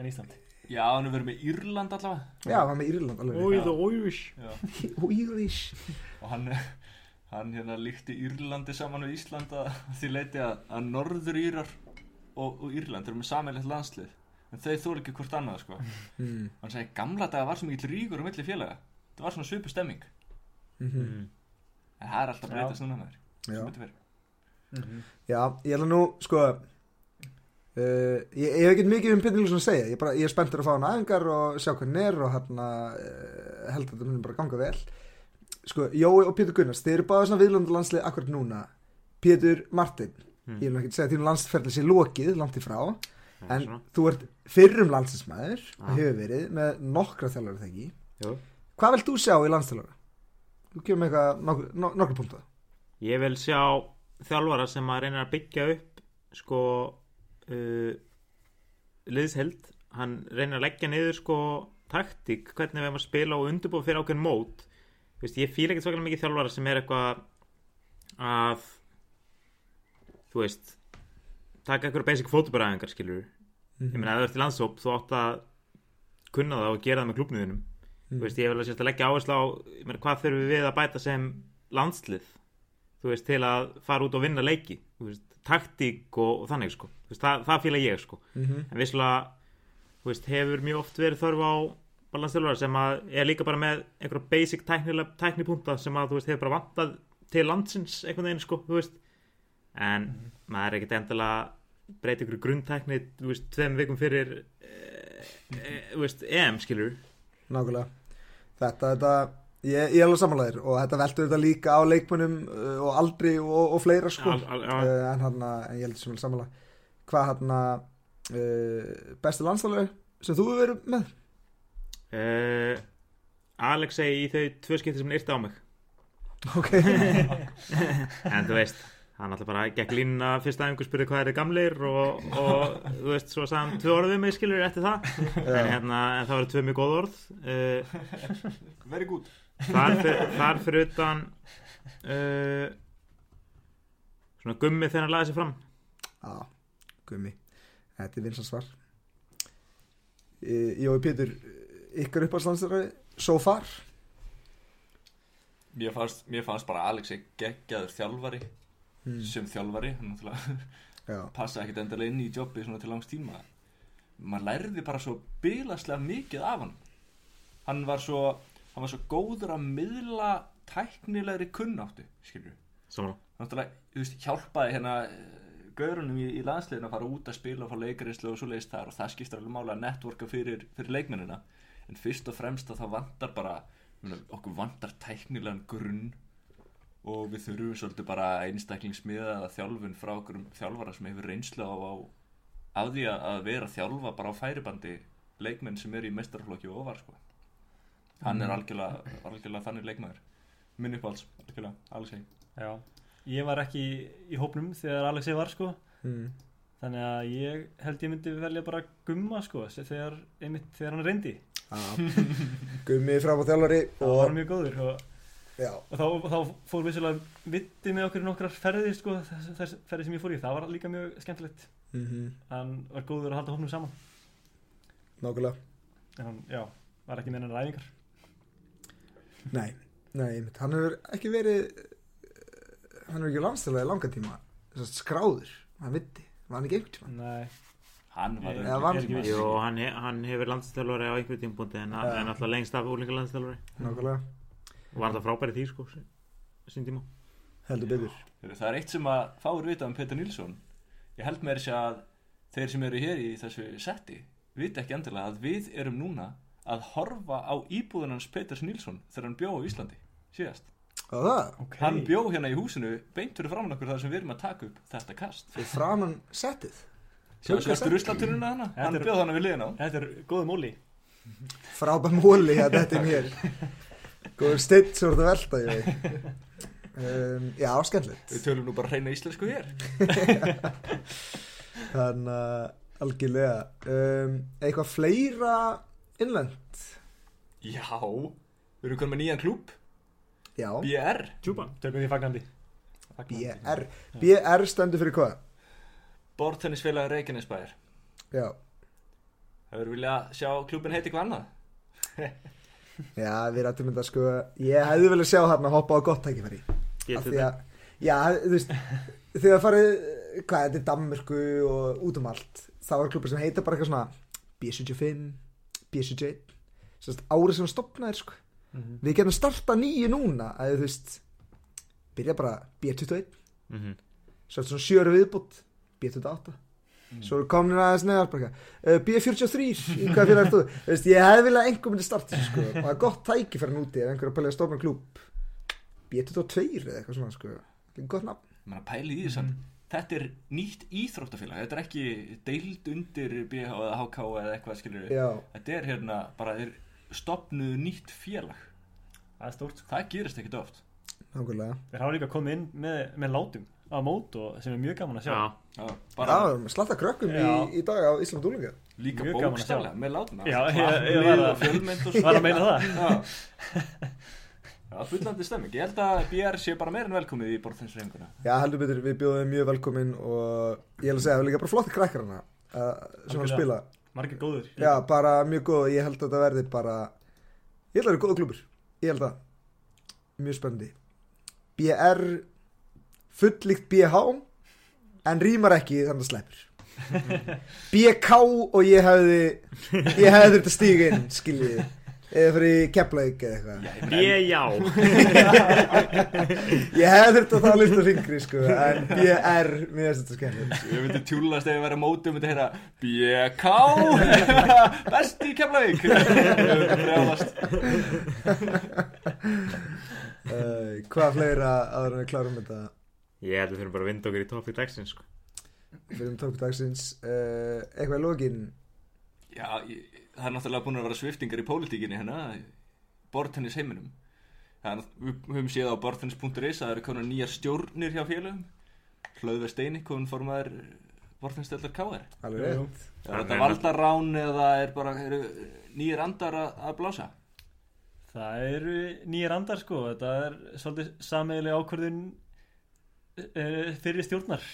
en Ísland Já, hann er verið með Írland allavega Já, hann var með Írland alveg Oi, the Irish Já. Og Irish Og hann Hann hérna líkti Írlandi saman við Ísland að að því leiti að, að norður Írar og, og Írland eru með sameiglegt landslið en þeir þóla ekki hvort annað sko mm. hann sagði gamla daga var svo mikill ríkur og milli félaga það var svona svipu stemming Mm. en það er alltaf að breytast núna maður já. sem betur fer. já, ég held að nú, sko uh, ég, ég hef ekkert mikið um Pétur Nilsson að segja Ég, bara, ég er spenntur að fá hann aðingar og sjá hvernig hann er og hérna uh, held að þetta munum bara ganga vel Sko, Jói og Pétur Gunnars, þeir eru báða svona viðlöndu landslið akkurat núna Pétur Martin, Mm. ég vil nú ekkert segja að þínum landsferðli sé lokið langt í frá Já, En svona. þú ert fyrrum landsinsmaður Ah. og hefur verið með nokkra þjálfari þeggi Jú. Hvað vilt þú sjá í landstjálfara? Þú gefur mig eitthvað nokkur, no- nokkra punktu Ég vil sjá þjálfara sem að reyna að byggja upp sko uh, liðsheld hann reynir að leggja niður sko taktík, hvernig við erum að spila og undirbúið fyrir ákveðin mót Þú veist, ég fíla ekkert svakalega mikið þjálfara sem er eitthvað að þú veist taka eitthvað basic fótubræðingar skilur ég meina ef þú ert í landshóp þú átt að kunna það og gera það með klubnuðinum þú veist ég vil að sérst að leggja áherslu á ég meina, hvað þurfum við að bæta sem landslið þú veist til að fara út og vinna leiki þú veist taktík og, og þannig sko þú veist, það, það fíla ég sko Mhm. en vissulega þú veist hefur mjög oft verið þörf á balanstilvara sem að er líka bara með einhverja basic tæknilega tæknipunta sem að þú veist hefur bara vantað til landsins einhvern veginn sko þú veist en Mhm. maður er ekkert endilega breyta ykkur grunntækni þú veist tveim vikum fyrir eh, eh, þú veist EM skilur Nákvæmlega Þetta, þetta, ég, ég er alveg samanlegaðir og þetta veltur þetta líka á leikmunum uh, og aldri og, og fleira sko Al- al- al- uh, en hann, en ég heldur sem alveg samanlega hvað hann uh, besti landstjálfari sem þú hefur verið með Uh, Alex segi í þau tvö skipti sem hann yrti á mig Ok, En þú veist, hann alltaf bara gekk línuna fyrsta aðingur spurði hvað er þið gamlir og, og þú veist, svo sagði hann tvö orð við mig skilur eftir það Eh, en, hérna, en það var tvö mjög góð orð uh, Very good þar, fyr- þar fyrir utan uh, Svona gummi þegar hann laði sér fram á, gummi Þetta er vinsans svar uh, Jói Pétur ykkar uppáðslandstjálfari so far Mér fannst, mér fannst bara Alex er geggjaður þjálfari Mm. sem þjálfari, hann náttúrulega Já, passa ekkit endilega inn í jobbi svona til langs tíma maður lærði bara svo bilaslega mikið af hann hann var svo hann var svo góður að miðla tæknilegri kunnáttu skilju, Svona, náttúrulega, þú veist, hjálpaði hérna eh, gaurunum í, í landsliðinu að fara út að spila og fá leikarinslu og svo leist þar og það skiptir alveg mála að networka fyrir, fyrir leikmennina en fyrst og fremst að það vantar bara ég meina, okkur vantar tæknilegan grunn og við þurfum svolítið bara einstaklingsmiðaða þjálfun frá okkur þjálfara sem hefur reynslu á, á af því að að vera að þjálfa bara á færibandi leikmenn sem er í mestarflokki og ofar sko. hann er algjörlega, algjörlega þannig leikmaður minn uppáhalds, algjörlega, alls heim Já, ég var ekki í hópnum þegar Alexei var sko Mm. Þannig að ég held ég myndi velja bara gumma sko se- þegar, einmitt, þegar hann reyndi Gummi fram á þjálfari Það var og mjög góður og, já, og þá, þá fór vissulega viti með okkur nokkrar ferðir sko þess, þess ferðir sem ég fór í, það var líka mjög skemmtilegt mm Hann var góður að halda hópnum saman nákvæmlega En hann, já, var ekki með hennar ræðingar Nei, nei, einmitt. hann hefur ekki verið eh, hann hefur ekki landstælega í langa tíma Þess að skráður, hann viti var hann ekki einhvern tíma Nei, hann var Ég- Eða var- örugglega- Jú, hann, he- hann hefur landstælari á einhverjum tímpúndi en, Já. en alltaf lengst af úrlinga landstælari nákvæmlega, og var alltaf frábæri því sko sín tíma heldur betur Heyrðu, Það er eitt sem að fáur vita um Petur Nilsson Ég held með þess að þeir sem eru hér í þessu setti vita ekki endilega að við erum núna að horfa á íbúðun hans Peters Nilsson þegar hann bjó á Íslandi síðast. og það, ok Hann bjó hérna í húsinu beintur framan okkur þar sem við erum að taka upp þetta kast. fyrir framan settið Sjáðu Gluggasetti. svartur ruslatununa hana? Þetta Hann er- bjóð hana við liðin á. Þetta er góðu móli frábær móli að þetta er mér góður steitt svo er það velta ég veit um, já, skemmtilegt Við tölum nú bara hreina íslensku hér. þannig að algjörlega um, eitthvað fleira innlend Já, við erum komin með nýjan klúb, já, BR. Tjúpa Tökum því fagnandi BR BR stendur fyrir hvað? Bortennisfélagi Reykjanesbæðir. já, Það verður vilja sjá klúbin heiti hvað annað. já við rættum þetta sko ég hefði vel að sjá hann að hoppa á gott tækifæri Af Getur því þetta að, já, þú veist þegar farið, hvað þetta er Danmörku og út um allt þá er klubur sem heitir bara eitthvað svona B75, B71 sérst árið sem hann stopnaðir sko Mhm. við getum starta nýju núna að þú veist, byrja bara B21, Mhm. svo er svona sjöru viðbútt B28 svo er komin aðeins neðar bara eitthvað uh, B43, í hvað fyrir þú þú veist, ég hefði viljað að einhver myndi starta þessu, sko, og það er gott tæki fyrir hann úti ef einhver er að pælega stofna klub B22 eða eitthvað svona sko gott nafn Man pæli í þess að Mhm. þetta er nýtt íþróttafélag, þetta er ekki deild undir BH eða HK eða eitthvað skilur Já, Þetta er hérna bara þeir stopnuðu nýtt félag. Það er stórt sko Það gerist ekkit oft. nákvæmlega Þeir hafa líka komið inn með, með látum á mót og sem er mjög gaman að sjá Já, Já, bara Já, slatta krökkum í, Já. í dag á Ísland úlinga líka mjög gaman að sjá. bókstaflega með látna. Já, ég- Klapplið ég var að- og fjölmynd og svo. Var að meina það? Já. Já, fullandi stemming. Ég held að BR sé bara meira en velkomið í borðinsreifinguna. Já, heldur betur, við bjóðum þeim mjög velkomin og ég held að segja, það er líka bara flott krakkar hana uh, sem hann Algjörlega. spila Margir góður Já, bara mjög góð, ég held að þetta verði bara ég held að það eru góða klubur ég held að, mjög spennandi BR fullíkt BH en rýmar ekki þannig að sleppur BK og ég hefði ég hefði þetta stíga inn, skiljið eða fyrir keplaug eða eitthvað ég já Ég hef þurft að það lyfta fingri sko En BR, mér finnst þetta skemmt Ég myndi tjúlast ef ég verið mótið og myndi heyra BK, best í Keflavík. Ég myndi brjálast. uh, Hvað fleira áður en við klárum þetta Ég held að við þurfum bara að vinda okkur í topp í dagsins sko. Fyrir um tók dagsins uh, Eitthvað í lokin Já, ég, það er náttúrulega búin að vera sviftingar í pólitíkinni hérna, bortennis heiminum. Það er, við við höfum séð á bortennis.is að það eru konar nýjar stjórnir hjá félögum. Hlauðve Steini, komin formaður bortennisdeltar KR. Alveg rétt Er þetta valdarán eða er bara eru nýjar andar að, að blása? Það eru nýjar andar sko, þetta er svolítið sameigilega ákvörðun uh, fyrir stjórnar.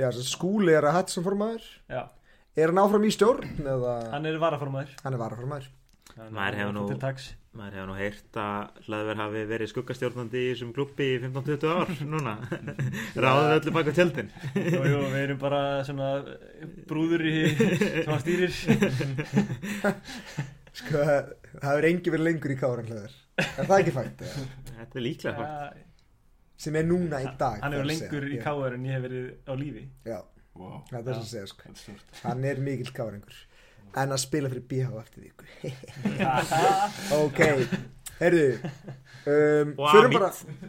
Já, svo skúli er að hatt sem formaður Já, Er hann áfram í stjórn eða hann er varaformaður. Hann er varaformaður Hann Maður er hefur nú- til taks. Maður hefur nú heyrt að hlaðver hafi verið skuggastjórnandi í þessum klubbi í 15-20 ár núna Ráður öllu baka tjöldin Jú, jú, við erum bara svona eh, brúður í sem hann stýrir. Sko, það hefur engi verið lengur í káran hlæður Er það ekki fænt? eða? Þetta er líklega fakt Ja, Sem er núna í dag hann hefur þarf að segja. lengur í Já, káður en ég hef verið á lífi. Já, Wow, það er þess að segja sko þetta er stort. Hann er mikill káringur en að spila fyrir BH eftir viku ok, heyrðu um, Og förum Amit.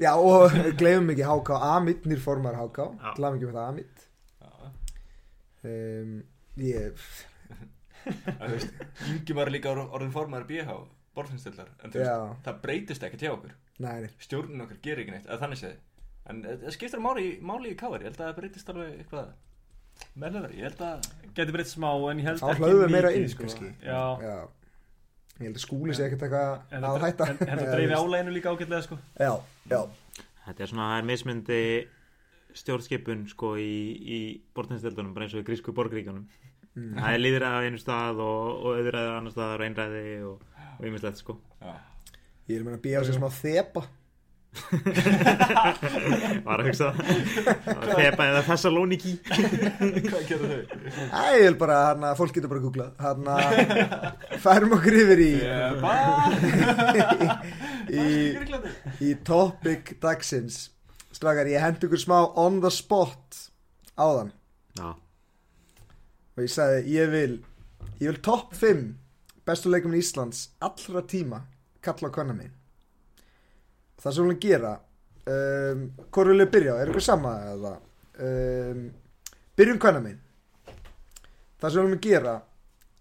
já, og gleymum ekki HK Amit, nýrformar HK Já. gleymum ekki með það Amit Já. um, ég, Þú veist, Ingimar er líka orð- orðin formaður BH borfinnstillar, en þú veist, já, það breytist ekki hjá okkur næri stjórnin okkar gerir ekki neitt, eða þannig séð en eh, það skiptir máli, í- máli í káar ég held að það breytist alveg eitthvað meðlega, ég held að Gæti breytt smá en ég held Þá ekki hlöðum við meira mikið, sko. inn, kannski. Já, já, ég held að skúli sé ekkert eitthvað en að þetta- hætta en- en þetta Eða, þú dreifir veist. álæginu líka ágætlega sko já, já, Þetta er svona, það er mismyndi stjórnskipun sko í, í bortinsdeldunum, bara eins og í grísku borgríkjunum. Það er líðræði á einu stað og, og auðræði á annar staðar og einræði og, og ymmislegt sko. já, ég er að meina BH sem smá þepa Var að hugsa það. Þepa eða Thessaloniki. hvað getur þau? Æ, ég vil bara, hann að fólk getur bara að googla Hann að færum okkur yfir í, Ég bara í, í topic dagsins Slakar, ég hendi ykkur smá on the spot áðan Já, Og ég sagði, ég vil, ég vil top 5 bestu leikmenn Íslands allra tíma kalla á konna mín Það sem hún vil gera um, Hvor vil ég byrja? á? Er ykkur sama eða? Um, byrjum konna mín Það sem hún vil gera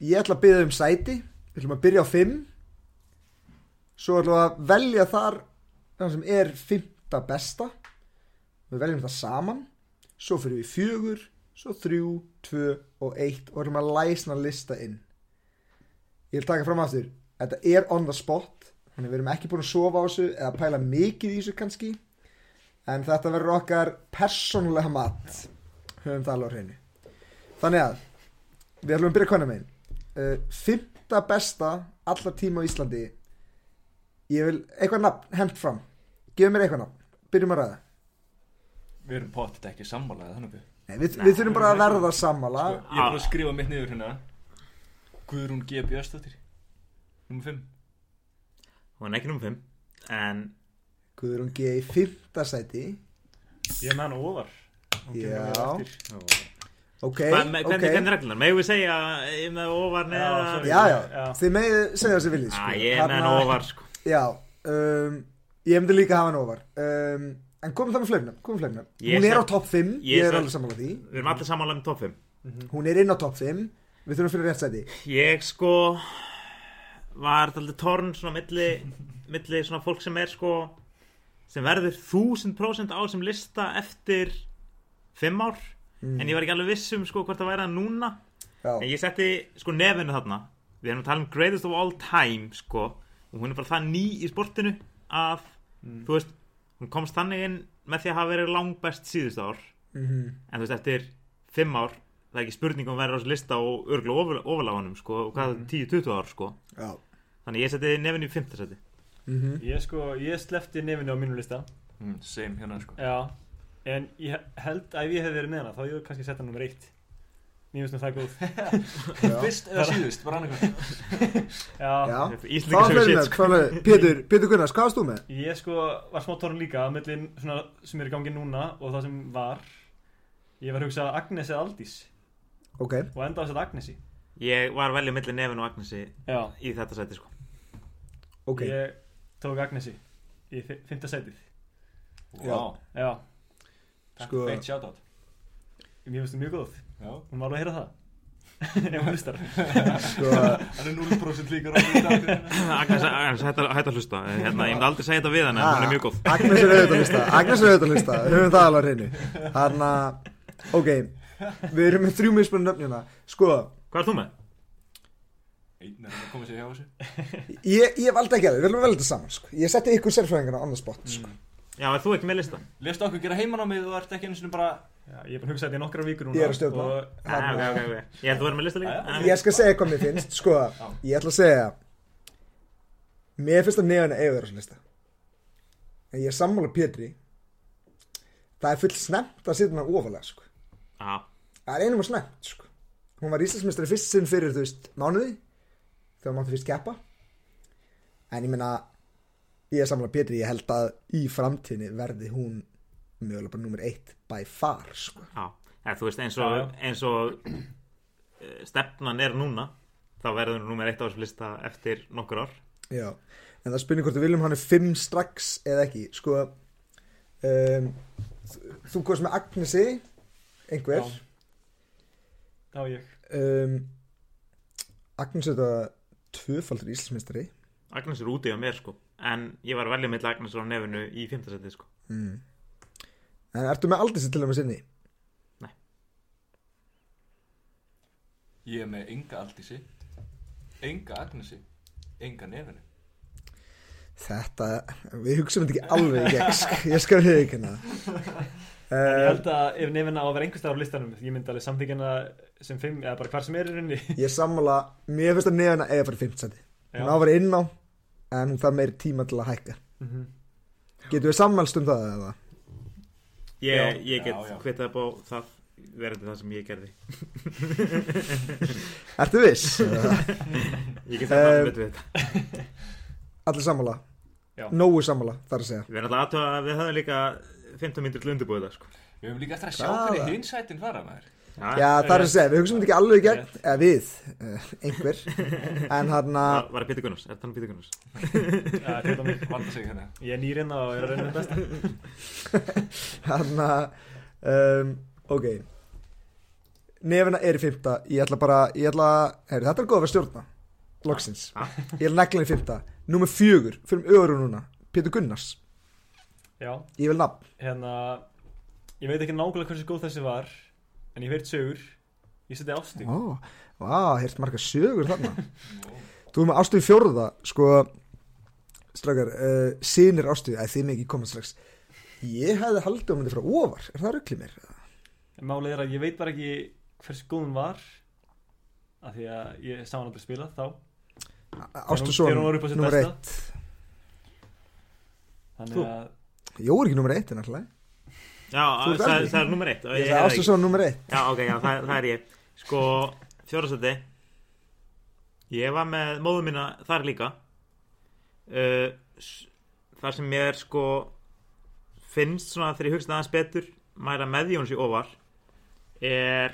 Ég ætla að byrja um sæti Við ætlum að byrja á 5 Svo ætlum við að velja þar Það sem er 5. besta Við veljum það saman Svo fyrir við fjögur Svo þrjú, tvö og eitt Og ætlum að læsna lista inn Ég vil taka fram aftur Þetta er on the spot Þannig við erum ekki búin að sofa á þessu Eða pæla mikið í þessu kannski En þetta verður okkar persónulega mat Höfum það alveg á hreinu Þannig að Við ætlum að byrja konar megin uh, Fymta besta allar tíma á Íslandi Ég vil eitthvað nafn Hent fram, gefum mér eitthvað nafn Byrjum að ræða við erum pottet ekki sammálaðið þannig að Nei, við, við þurfum bara að verða sammála Sko, ég er bara að skrifa mitt niður hérna Guðrún G. Björnsdóttir Númer 5 hún er ekki nummer 5. En Guðrún G. í fymta sæti Ég er með hann ofar Hún kemur Já. mér á eftir. Ok, hey, hvernig, ok okay. hvernig reglunar? Megum við segja um það ofar neða? Já, sorry. Já, já, Já. þið megið segja þessi viljið Á, sko. ég er með hann Þarna- ofar sko. Já, um, ég myndi líka hafa hann ofar um, En komum það með fleirnum, komum fleirnum Ég Hún er á skal- topp 5, ég ég, er skal- alveg sammála því Við erum allir sammála um top 5. Hún er inn á topp 5, við þurfum að finna rétt sæti Ég sko var alltaf torn svona milli, milli svona fólk sem er sko sem verður 1000% á sem lista eftir 5 ár en ég var ekki alveg viss um sko hvort það væri það núna en Mm. Já, ég setti sko nefinu þarna við erum að tala um greatest of all time sko og hún er bara það ný í sportinu að þú veist hún komst þannig inn með því að hafa verið langbest síðust ár mhm, en þú veist eftir 5 ár það er ekki spurning um að vera á þessu lista og örgulega ofurláðanum sko og Mhm. hvað 10-20 ár sko já þannig ég seti nefn í 5. seti mhm. Ég sko, ég slefti nefinu á mínu lista mm, Same hérna sko Já, en ég he- held að ef ég hef verið með hana þá ég hef kannski sett hann nummer eitt Mér finnst nú það góð Já, Fyrst eða síðust, bara annað Já, já Íslika Hvað sem fleirnum, hvað shit sko fleirnum Pétur, Pétur Gunnars, hvað varst þú með? ég sko var smá tórn líka á milli svona sem er í gangi núna og það sem var Ég var að hugsa Agnes eða Aldís Ok, og enda á þess að Agnesi ég var velja milli nefn og Agnesi Já, í þetta seti sko ok ég tók Agnesi í fi- fimmta setið Já, wow. Já, Sko- sko... feitt shoutout mér finnst það mjög góð Já Hún má alveg heyra það Ef hún hlustar Sko, Hann er 0% líkar á því dagurinn. Agnes, Agnes hætt að hætt að hlusta hérna, ég myndi aldrei segja þetta við hann en hún er mjög góð Ah, Agnes er auðvitað lista Agnes er auðvitað lista, við höfum það alveg á hreinu Þarna, ok Við erum með þrjú mismunum nöfnina Sko, hvað er þú með? Einn er að koma sér hjá þessu ég, ég valdi ekki að það, við viljum vel þetta saman sko. Ég setti ykkur sérfræðingarna on the spot Mm, sko. já, er þú ekki með lista? Lestu okkur gera heimanámið og ert ekki einu sinni bara Já, ég er búin að hugsa þetta í nokkra vikur núna Ég er að stjórna og- Ah, Þarna, okay, okay, okay. ég held þú verið með lista líka Ah, Ég skal segja hvað mér finnst sko. Ég ætla að segja Mér finnst að nefna eiga þeirra lista En ég er sammála Pétri Það er full snemt að setja hann ofalega sko. já, Það er einum að snemt sko. Hún var Íslandsmeistari fyrst sinn fyrir þú veist, mánuði þegar hún mátti fyrst keppa en ég meina ég er samlega Pétri, ég held að í framtíðinni verði hún mögulega bara nummer eitt by far sko. já. Ja, þú veist Eh, eins og, Já, já. eins og eh, stefnan er núna þá verður hún númer eitt á þessu lista eftir nokkur ár Já, en það spynir hvort við viljum hann er fimm strax eða ekki Sko um, þú- Þú komst með Agnesi Einhver Já. þá ég um, Agnes er þetta tvöfaldur íslensmestari Agnes er úti á mér sko en ég var að velja milli Agnes og nefinu í fymtasetti sko mm. En ertu með aldrei sér til að með sinni? Ég er með enga Aldísi, enga Agnesi, enga nefinu. Þetta, við hugsaum þetta ekki alveg í gegn sko. Ég skal við ekki hana en ég um, held að ef nefna á að vera einhverstað á listanum ég myndi alveg samþykjana sem fimm eða bara hvar sem er í rauninni Eh, Ég sammála, mér finnst að nefna eða fyrir fimmtsæti Hún á að vera inn á En hún þarf meiri tíma til að hækka Mhm. Getum við sammælst um það eða? Já. ég, ég Já, já. get kvittað upp á það verður það sem ég gerði Ertu viss? ég get það Eh, betur við þetta Allir sammála Já. Nóu sammála, þar að segja við erum alltaf aðtöða að við höfum líka 15 mínútur til að undirbúið það sko Við höfum líka eftir að sjá Hvaða? hvernig hinsætin fara maður. Ah, Já, það þar að segja, við hugsaum þetta ekki alveg í gegn Eða við, uh, einhver En hann að, var að Pítur Gunnars, er það hann Pítur Gunnars? Já, þetta var mig. Valda sig hérna. ég er nýrinn og er að rauninni besta hann að um, Ok Nefina er í fymta Ég ætla bara, ég ætla heyr, Þetta er góð að vera stjórna Loksins Ha? Ah. Ég ætla negla í fymta Númer fjögur, fyrir um öru núna Pétur Gunnars, já ég vil nafn hérna ég veit ekki nákvæmlega hversu góð þessi var en ég veit sögur ég seti ástík Ó, vá, hérst marga sögur þarna Þú erum með ástuði fjórða sko strakar, uh, sinir ástuði að þið mig ekki koma strax ég hefði haldið að myndi frá ofar er það rugglið mér? En Málið er að ég veit bara ekki hversu góð hún var af því að ég sá hann aldrei spila þá Ástuð Þegar hún- þegar hún var upp á svona, sitt nummer besta. eitt þannig Þú- að Jó er ekki nummer eitt en alltaf Já, ert það, eldri. það er nummer eitt og Ég ég hefði ætla ekki- ástuð svona nummer eitt Já, ok, já, það, það er ég Sko, fjórasæti Ég var með móðu mína þar líka uh, s- Þar sem ég er sko finnst svona þegar ég hugsa aðeins betur mæra með Jóns í óvar er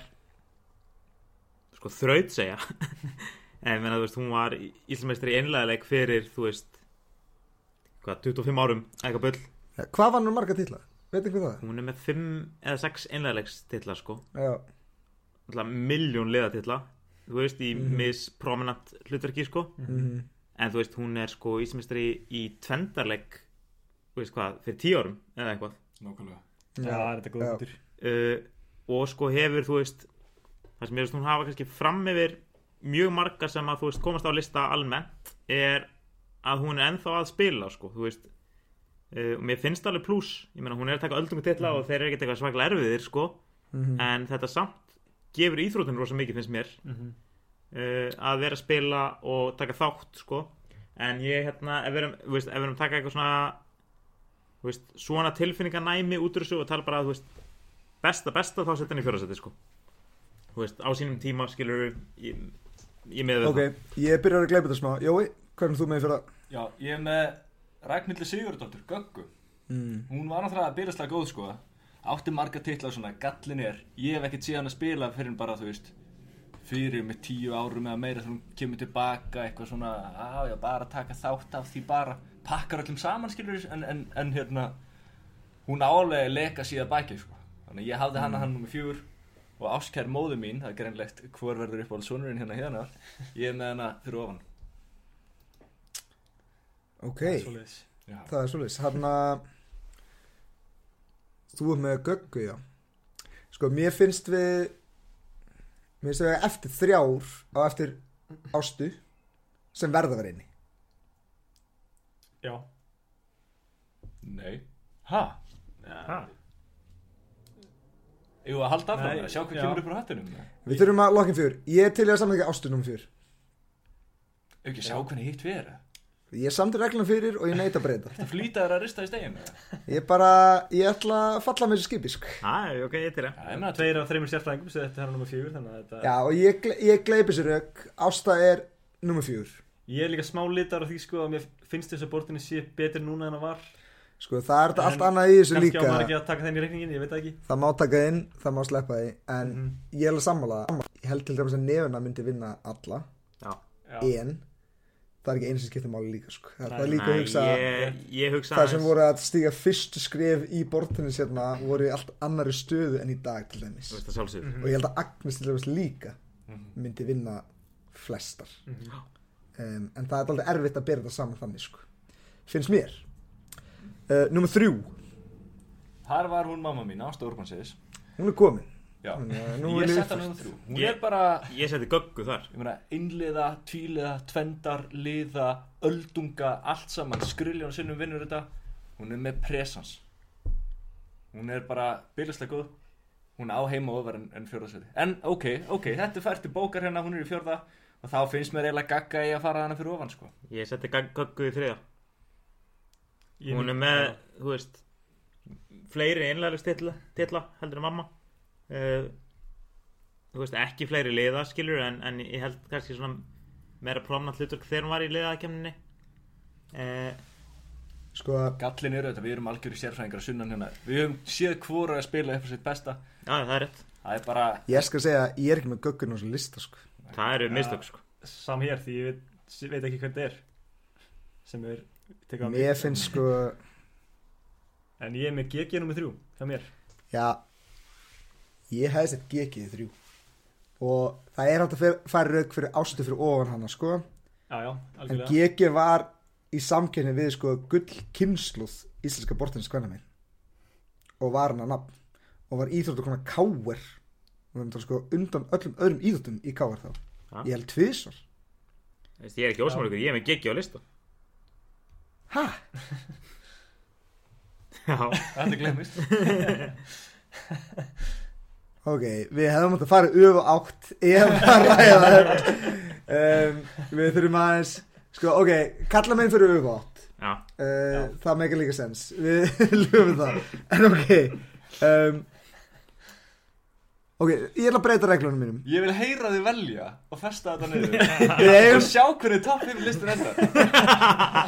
sko þraut segja en menna, þú veist, hún var íslmeistri einlæðileg fyrir, þú veist hvað, 25 árum, eitthvað bull ja, Hvað var nú marga titla? Veit einhver það? hún er með 5 eða 6 einlæðilegstitla sko Já, alltaf miljón liðatilla þú veist, í Mhm. misprominent hlutverki sko, mm en þú veist, hún er sko ísmestri í tvendarleik þú veist hvað, fyrir tíu árum eða eitthvað Nákvæmlega. já, það er þetta góð já. hundur uh, og sko hefur, þú veist það sem ég veist, hún hafa kannski fram yfir mjög margar sem að, þú veist, komast á lista almennt, er að hún er ennþá að spila, sko, þú veist uh, og mér finnst alveg pluss ég meina, hún er að taka öldungu titla Mhm. og þeir eru ekkert eitthvað svaklega erfiðir, sko, en þetta samt gefur íþrótun rosa mikið, finnst mér Mhm. uh, að vera að spila og taka þátt sko. en ég hérna ef við erum, þú veist, ef við erum að taka eitthvað svona þú veist, svona tilfinninganæmi út úr þessu og tala bara að þú veist, besta besta þá setja hann í fjórasæti sko. Þú veist, á sínum tíma skilur við ég, ég með við Ok, ég byrjar að gleypa þetta smá Jói, hvernig þú með fyrir það? Já, ég er með Ragnhildur Sigurðardóttur, Göggu. Mm. Hún var náttúrulega að byrjast góð sko Átti marga titla svona, gallin er Ég hef ekkert síðan að spila fyrir en bara, þú veist Fyrir með tíu árum eða meira Þegar hún kemur tilbaka eitthvað svona Á, já, bara taka þátt af því bara Pakkar öllum saman, skilur þess en, en, en hérna, hún álega leka síðan baki, sko Þannig að ég hafði Mm. hana hann nummer fjúr Og áskær móðu mín, það er greinlegt Hvor verður upp á sonurinn hérna hérna Ég er með hana fyrir ofan Ok, Það er svoleiðis. Já, það er svolítið Hann að Þú er með göggu, já Sko, mér finnst við Mér finnst við eftir þrjár á eftir ástu sem verða að vera inni já, nei Ha? það Jú, að halda af Nei, það, sjá hvað já. kemur upp á hattunum Við þurfum að lokka fjör Ég er til ég að samlega ástu nummer fjör Ef ekki að sjá hvernig hitt við erum Ég samti reglum fyrir og ég neita að breyta Það flýta þér að rista í stegin Ég bara, ég ætla að falla með þessu skipi sko. er ok, ég til það Það er með að tveir af þreimur sérfræðingum sem þetta er hann nummer fjögur þannig að þetta Já, og ég, gle- ég gleypi sér ök Ásta er nummer fjör ég er líka smá litar á því sko að mér finnst þess að bortinni sé betur núna en að var Sko, það er þetta En allt annað í þessu kannski á líka maður ekki að taka þenni í reikningin, ég veit það ekki Það má taka inn, það má sleppa því En Mhm. ég er alveg sammála ég held til dæmis að nefuna myndi vinna alla Já. já, en það er ekki eins sem skiptir máli líka sko. það það er líka að Nei, hugsa ég, ég hugsa það sem aðeins- voru að stíga fyrstu skrif í bortinni sérna voru í allt annari stöðu en í dag til dæmis Þú veist það sjálfsög og ég held að Agnes til dæmis líka Mhm. myndi vinna flestar um, en það er alveg erfitt að bera þetta saman þannig sko. finnst mér uh, Númer þrjú, Þar var hún mamma mín, Ásta Urbansiðis hún er komin Já, Hún er- Mm, nú ég viljum við sett hann um þrjú Hún Ég- er bara, Ég seti göggu þar ég meina, innliða, tvíliða, tvendar, liða, öldunga, allt saman Skriljón sinnum vinnur þetta Hún er með presans Hún er bara byrjuslega góð Hún á heima ofar en, en fjórðasöti En ok, ok, þetta er fært til bókar hérna, hún er í fjórða Og þá finnst mér eiginlega gagga í að fara hana fyrir ofan, sko Ég seti göggu í þriða ég- Hún er með, þú veist Fleiri einlega titla, titla heldur en mamma uh, Þú veist, ekki fleiri liða skilur En, en ég held kannski svona Meira promnant hlutur þegar hún var í liðakemninni uh, sko að Gallin eru þetta, við erum algjöri sérfræðingar að sunnan hérna Við höfum séð hvora að spila upp á sitt besta Já, það er rétt Það er bara, ég skal segja að ég er ekki með göggun á þessu lista sko. Það eru mistök sko sam hér því ég veit, veit ekki hvernig það er sem er tekað á mér finnst sko en ég er með GG nummer 3 hjá mér já, ég hefði sett GG í þrjú og það er hægt að fer- færa rauk fyrir ástu fyrir ofan hana sko. já, já, en algjörlega GG var í samkynni við sko gull kynsluð íslenska bortins kvenna minn og var hann að nafn og var íþróttu konar káver og var sko undan öllum öðrum íþróttum í káver þá Ha? ég held tviðsvar Þú veist, Ég er ekki ósamlega ykkur, ég er með geggi á lista ha? Já þetta glemist ok, við hefum átt að fara öfu átt ef að ræða þetta. um, við þurfum aðeins sko ok, kalla meginn fyrir öfu átt Já, uh, það meikar líka sens við löfum það en ok um, ok, ég ætla að breyta reglunum mínum Ég vil heyra þig velja og festa þetta niður við og eigum, sjá hvernig topp 5 listin þetta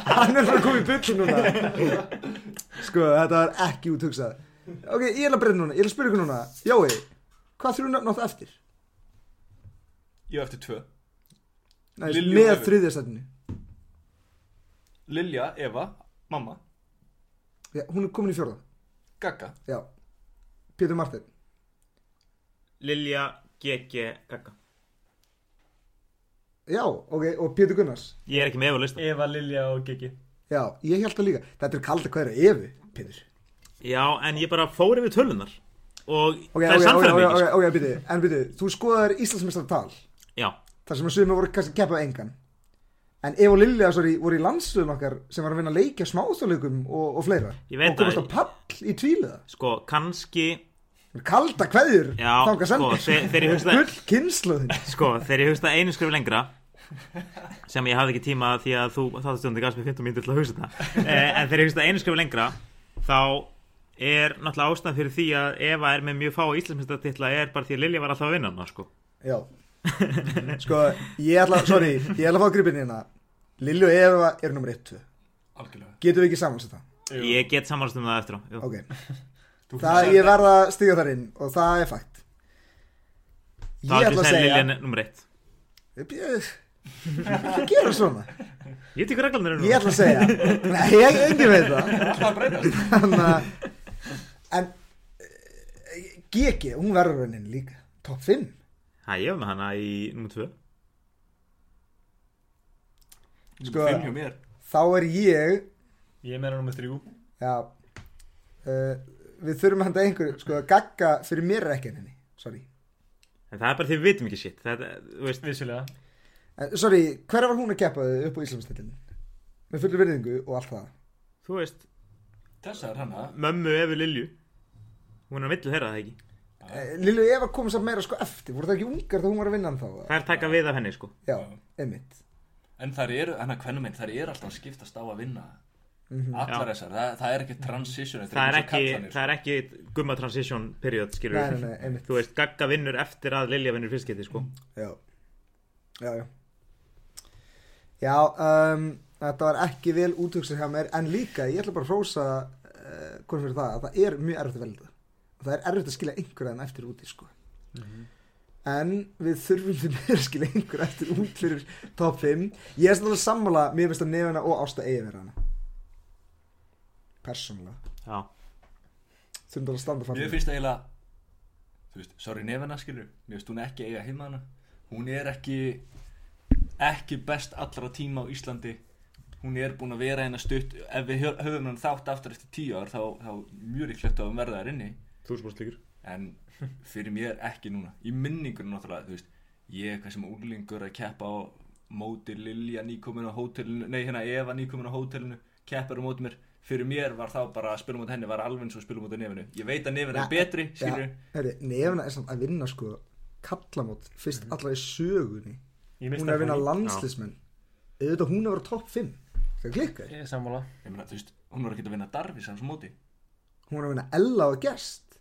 hann er frá að koma í byllu núna sko, þetta var ekki út hugsað ok, ég ætla að breyta núna, ég ætla að spyrja ykkur núna Jói, hvað þrjú nöfn áttu eftir? Ég á eftir 2 Nei, Lilju með Evu. þriðjastættinu Lilja, Eva, mamma, Já, hún er komin í fjórða, Gagga já Pétur Martin, Lilja, GG, Gagga já, ok, og Pétur Gunnars Ég er ekki með á lista Eva, Lilja og GG já, ég held það líka, þetta er kalda hverja Evu, Pétur Já, en ég bara fór yfir tölunar Og Ok, það ok, ok, er sko. samfæðan ok, mikið ok, ok, býtu, en býtu, þú skoðar Íslandsmeistartal sko. Já, þar sem að sumir voru kannski keppað engan en Eva og Lilja sorry, voru í landstöðum okkar sem var að vinna að leikja smáþjóðleikum og, og fleira Ég veit og komast á það. pall í tvíliða sko, kannski kalda kveður Já, þangað sko, sendir þe- þegar ég hugsa það- gull kynsluðin Sko, þegar ég hugsta einu skrif lengra Sem ég hafði ekki tíma því að þú Þáttastundi gafst mér 15 mínútur til að hugsa þetta Eh, En þegar ég hugsta einu skrif lengra Þá er náttúrulega ástæðan fyrir því að Eva er með mjög fá íslensmyndatitla er bara því að Lilja var alltaf að vinna hana, sko já sko, ég ætla, sorry, ég ætla að fá gripin hérna Lilja og Eva eru nummer 1 Algjörlega getum við ekki samanast það? Ég get samanast um það eftir á jú. ok, það, ég verða að stíga þar inn og það er fakt Þá ég ætla að segja Lilja nummer eitt Bjö- hvað gera svona? Ég tekur reglarnir Ég ætla að segja Nei, ég engin veit það Alltaf að breytast Þannig að En eh, GG, hún verður raunin líka Top 5 Hæ, ég var með hana í nummer 2 Sko- Fimm hjá mér Þá er ég ég er með hana nummer 3 Já uh, Við þurfum að handa einhverju Sko, Gagga fyrir mér er ekki henni Sorry En það er bara því við vitum ekki shit Þetta, þú veist, vissulega uh, Sorry, hver var hún að keppa upp á Íslandsdælinni? Með fullu virðingu og allt það þú veist Þessa er hana Mömmu Efu Lilju Hún er á millu þeirra það ekki uh, Lillu Eva kom samt meira sko eftir Voru það ekki ungar þegar hún var að vinna hann þá? Það er taka við af henni sko Já, einmitt En þær eru, hana hvernig minn, þær eru alltaf að skiptast á að vinna Allar Mhm. Já. þessar, það, það er ekki transition þetta Það eins er og sko. ekki, kallanir, það er ekki gumma transition period skilur Nei, nei, nei, einmitt Þú veist, Gagga vinnur eftir að Lilja vinnur fyrst geti sko Já, já, já. Já, um, þetta var ekki vel úthugsað hjá mér, en líka, ég ætla bara að hrósa uh, hvernig Mhm. fyrir það, að það er mjög erfitt að velja það. Það er erfitt að skilja einhverja en eftir úti, sko. en við þurfum því meira skil einhver eftir út fyrir top 5 ég er snáðlega sammála, mér finnst að nefna og ásta eigi vera hana persónulega, já, þurfum bara að standa fram Mér fyrir. finnst eiginlega Þú veist, sorry nefana skilur Mér finnst hún ekki eiga heima hana Hún er ekki Ekki best allra tíma á Íslandi Hún er búin að vera hérna stutt Ef við hö- höfum hann þátt aftur eftir tíu ár Þá, þá mjög líklegt að hún verða þær inni Þú sem búin slíkur En fyrir mér ekki núna Í minningur náttúrulega, þú veist Ég er hvað sem úlingur að keppa á Móti Lilja nýkomin á hótelinu Nei, hérna Eva nýkomin á hótelinu Keppar á móti mér Fyrir mér var þá bara að spilum út henni Var alveg eins og spilum út á nefinu Ég veit að nefinu Ja, er betri, skilur Já, herri, nefna er samt að vinna sko kallamót, fyrst Mhm. allra í sögunni Ég minnst hún er að vinna Stefán. landslismenn auðvitað hún er að vera top 5 það klikkar, Ég er sammála Ég meina, þú veist, hún var ekki að vinna Darvis hans á móti hún er að vinna Ella og Gerst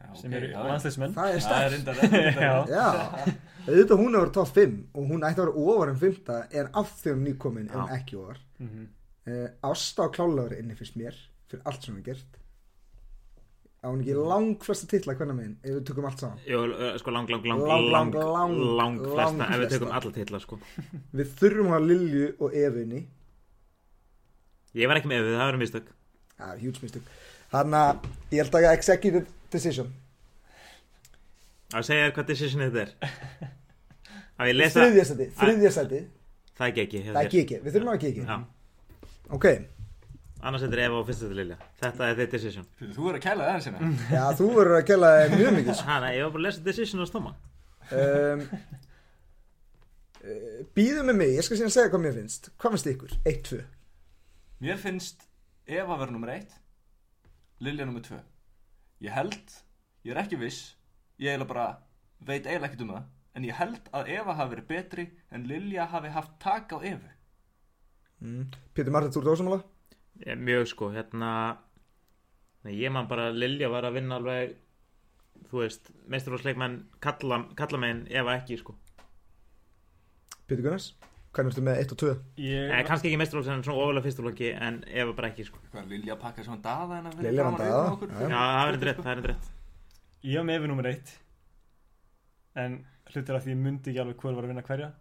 já, sem ok, eru já, landsleismenn það er Það er stærkt reyndar það er reyndar- Já. Já, auðvitað hún er að vera top 5 og hún ætti að vera ofar en 5 en af því hún er nýkomin en Já. ekki ofar Mhm. uh, Ásta og klálega verið inni fyrst mér fyrir allt sem hún er gert á hún ekki langflesta titla hvernig minn ef við tökum allt saman Jó, eh, sko lang, lang, lang, Lang, lang, lang, lang, lang flesta, ef við langflesta. tökum alla titla, sko. við þurfum að hafa Lilju og Evinni Ég var ekki með við, það var um mistök. það er huge mistök þannig að ég held að executive decision Að segja þér hvað decision þetta er. Að ég lesa, þriðja seti, þriðja seti það er ekki, það er kikið, við þurfum að hafa kikið Já, ok, annars þetta er Eva og fyrst þetta Lilja. Þetta er þitt decision. Fyrir, Þú verður að kæla það hérna já þú verður að kella þér mjög mikið sko. Ha, nei, ég var bara að lesa decision á stóma. um, uh, býðu með mig, ég skal síðan segja hvað mér finnst hvað finnst ykkur? 1-2 Mér finnst Eva verður nummer 1 Lilja nummer 2 Ég held, ég er ekki viss Ég eiginlega bara veit eiginlega ekkert um það En ég held að Eva hafi verið betri En Lilja hafi haft tak á Evu mm. Pétur Martins, þú ert ósamála? Ég, mjög sko, hérna nei, ég man bara að Lilja var að vinna alveg þú veist, meisturvarsleikmenn kalla, kalla meginn ef ekki sko Pétur Gunnars, hvernig ertu með 1 og 2? eh, Ég kannski ekki meisturvarsleikmenn, en svona ofalega fyrstulokki en ef bara ekki sko Hvað, Lilja pakkaði svona daða hennar Lilja var daða, já. já, það er rétt, það er rétt Ég var með yfir nummer eitt En hlutir af því ég myndi ekki alveg hver var að vinna hverja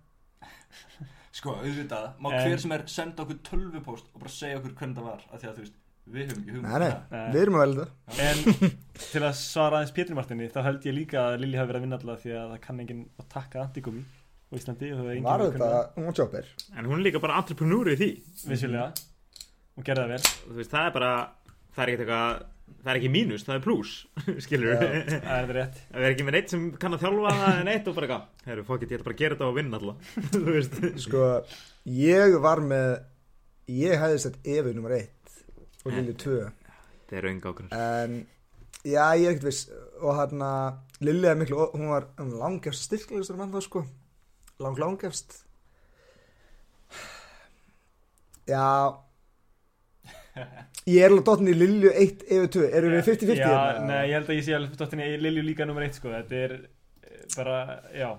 Sko, auðvitað, má En- hver sem er senda okkur tölvupóst Og bara segja okkur hvernig það var Af því að þú veist, við höfum ekki hugmynd Nei, um nei, það. Nei. við erum að velja þetta Eh, En til að svara aðeins Pétur Martinni Þá held ég líka að Lilli hafi verið að vinna alltaf Því að það kann enginn að taka antigómi Á Íslandi og það hefur enginn Var verið að þetta, kunna hún var jobber en hún er líka bara entreprenúri í því það. Vissulega Hún gerði það vel þú veist, það er bara, það er ekkert eitthvað það er ekki mínus, það er plus skilur við, Það er þetta rétt það er ekki með neitt sem kann að þjálfa það en eitt og bara eitthvað herru, fokk it, ég ætla bara að gera þetta og vinna alltaf þú veist, Sko, ég var með ég hefði sett Evi nummer 1 og Lilju 2 það er raunga okkur en, já, ég er ekkert viss og hérna, Lilju er miklu hún var um, langjafst styrklegistur mann þá sko lang langjafst já ég er alveg dottin í Lilju 1 Evi 2, eru við 50-50 Já, hérna? nei, ég held að ég sé alveg dottinni Lilli líka nummer eitt sko Þetta er eh, bara, já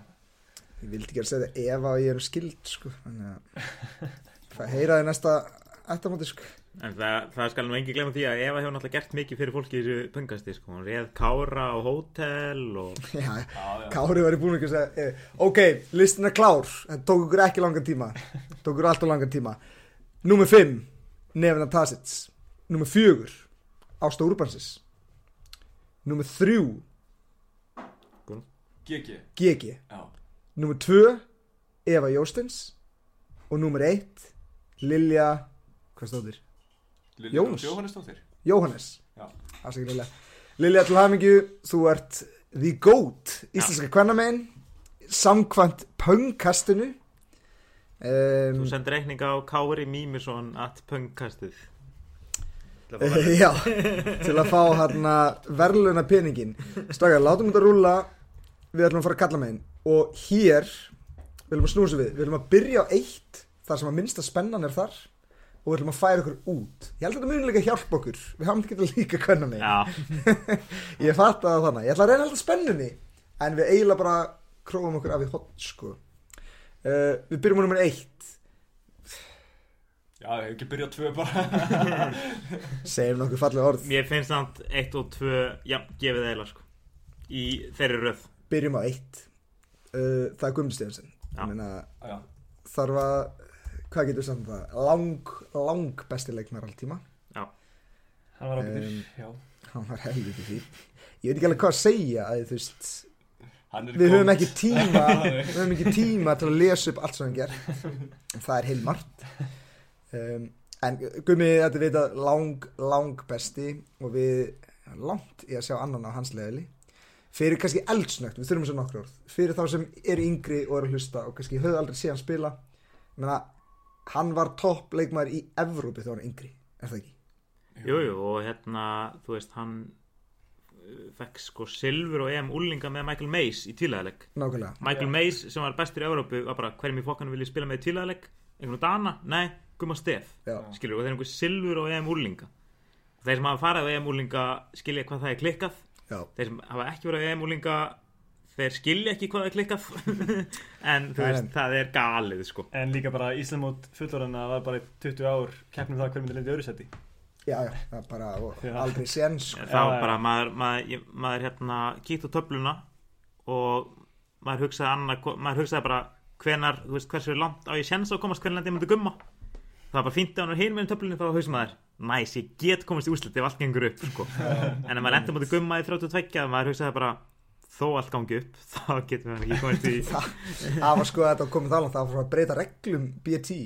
Ég vildi ekki að segja það ef að ég er skild sko. Þannig að Það heyraði næsta ættamóti sko. En það, það skal nú engi glemma því að Eva hefur náttúrulega gert mikið fyrir fólki í þessu pöngasti, sko. Hún réð kára á hótel og... Já, Já, já. Kári var í búin að segja eh, Ok, listin er klár Það tók ykkur ekki langan tíma Tók ykkur alltaf langan tíma Númer 5, Nefna Tassits Númer 4, Ásta Urbansis Númer 3, GG, GG já Númer 2, Eva Jóstins Og númer 1, Lilja Hvað stóðir? Lilja Jóns. Dóms Jóhannesdóttir Jóhannes Já. Afsakið, Lilja. Lilja til hamingju, þú ert The Goat, íslenska kvennamein samkvæmt pöngkastinu um, Þú sendir reikninga á Kári Mímisson at pöngkastið. Það var bara- Já, til að fá hérna verðluna peningin Stakar, látum þetta rúlla Við ætlum að fara að kalla megin Og hér, við ætlum að snúsa við Við ætlum að byrja á eitt Þar sem að minnsta spennan er þar Og við ætlum að færa okkur út Ég held að þetta muni líka hjálpa okkur Við hafum ekki að líka kvenna megin Já, Ég fatt að þannig, ég ætla að reyna alltaf spennunni En við eiginlega bara króum okkur af í hot sko. uh, Við byrjum á nummer eitt Já, ég hef ekki byrjað tvö bara Segjum nokkuð fallega orð mér finnst samt 1 og 2, já, gefið eila, sko. Í þeirri röð. Byrjum á eitt uh, það er Guðmundur Stefansson Já. ég meina já, þarf að hvað getur við samt um það lang, lang besti leiknar alltíma hann var ábyrgur Em, já. hann var helviti fín ég veit ekki alveg hvað að segja að þú veist Hann er við höfum góð. ekki tíma við höfum ekki tíma til að lesa upp allt sem hann ger en það er heilmart um, en Gummi þetta er vita lang, lang besti og við erum langt í að sjá annan á hans leðili fyrir kannski eldsnögt, við þurfum svo nokkur orð fyrir þá sem eru yngri og eru að hlusta og kannski höfðu aldrei séð hann spila menna, hann var topp leikmaður í Evrópi þegar hann var yngri, er það ekki? Jú, jú, og hérna, þú veist, hann uh, fekk sko silfur og EM úlinga með Michael Mays í tvílæðileg Nákvæmlega Michael Mays sem var bestur í Európu var bara hverjum í fokkanum vil ég spila með í tvílæðileg einhvern Dana, nei, Guma Stef Já. skilur, og þeir eru einhver silfur og EM úlinga þeir sem hafa farið á EM úlinga skilja hvað það er klikkað Já, þeir sem hafa ekki verið á EM úlinga þeir skilja ekki hvað það er klikkað en Nei, þú veist, nei. það er galið sko en líka bara Íslamót fullorðana var bara í 20 ár keppnum það hver myndi lenda í öðru seti já, já, það er bara og, Já. aldrei séns sko. þá já. bara maður, maður, ég- maður hérna kýtt á töfluna og maður hugsaði, annað, maður hugsaði bara hvenar, þú veist, hversu langt á ég séns á að komast hvernig landið myndi gumma það var bara fínt að hann er hinum með töflunni þá hugsaði maður næs, ég get komast í úslit ef allt gengur upp sko. en ef maður lendir myndi gumma í 32 maður hugsaði bara þó allt gangi upp þá getum við ekki komast í Þa- það var sko þetta komið þálan það var svona að breyta reglum BT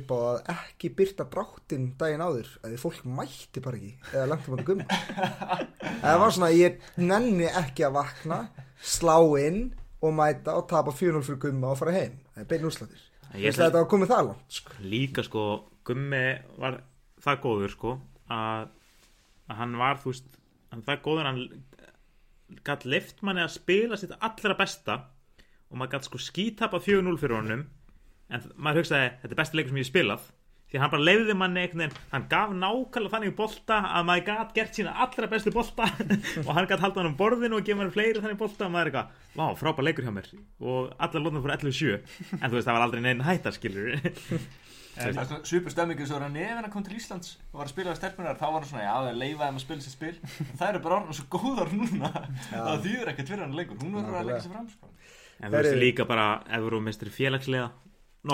upp á að ekki byrta dráttinn daginn áður að því fólk mætti bara ekki eða langt um að gumma það var svona ég nenni ekki að vakna slá inn og mæta og tapa 400 fyrir gumma og fara heim það er beinu úrslatir Ég Ég ætla- þetta var komið þálan líka sko Gummi var það góður sko að, að hann var þú veist hann það góður hann gætt lift manni að spila sitt allra besta og maður gætt sko skítapa 4-0 fyrir honum en þ- maður hugsaði þetta er besti leikur sem ég hef spilað því að hann bara leiði manni einhvern veginn hann gaf nákvæmlega þannig bolta að maður gætt gert sína allra bestu bolta og hann gætt halda hann á borðinu og gefa hann fleiri þannig bolta og maður er eitthvað, vá, frábær leikur hjá mér og allar lóðnum fór 11-7 en þú veist, það var aldrei neinn hættar skilur Það er svona svipur stemmingið svo er hann ef hann kom til Íslands og var að spila við stelpunar þá var hann svona já það er leifað að maður spila sér spil En það eru bara orðin svo góðar núna það þýður ekkert fyrir hann lengur hún verður að leggja sér fram sko. En Þeir þú veist eru- líka bara Evrómestri félagslega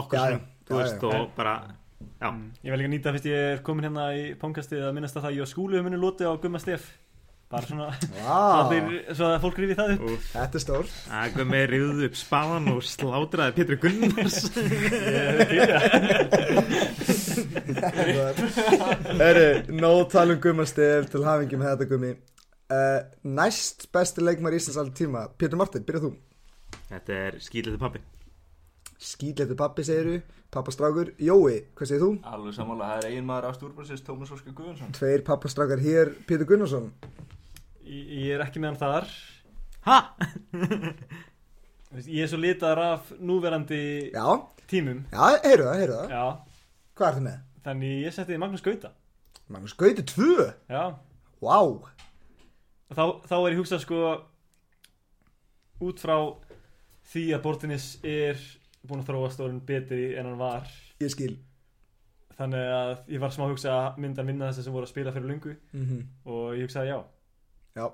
nokkur Já, já, sem, þú já, veist, já. og bara já, Mm. ég vil líka nýta fyrst ég er komin hérna í pónkastið að minnast að það ég og skúlu muni loti á Gumma Stef bara svona svo, að wow, þeir, svo að fólk rífi það upp og þetta er stór aðgöð með riðuð upp spaðan og slátraði Pétur Gunnars Herru, nóg tala um gummastef til hafingi með þetta gummi uh, Næst besti leikmar Íslands allir tíma Pétur Martin, byrja þú Þetta er skýtleti pappi Skýtletu pappi segiru, pappastrákur Jói, hvað segir þú? alveg samanlega það er eigin maður ástúrbansins Tómas Óskar Guðjónsson Tveir pappastrákar hér, Pétur Gunnarsson ég, ég er ekki með hann þar Ha? Þú veist, ég er svo litar af núverandi Já, tímum já, heyrðu það, heyrðu það já, Hvað ertu með? þannig ég setti Magnús Gauta Magnús Gauti 2 já, Vá, þá, þá er ég hugsað sko út frá því að Bortinis er búin að þróast og orðinn betri en hann var ég skil þannig að ég var smá að hugsa að mynda að vinna þessi sem voru að spila fyrir lungu mm og ég hugsaði já Já,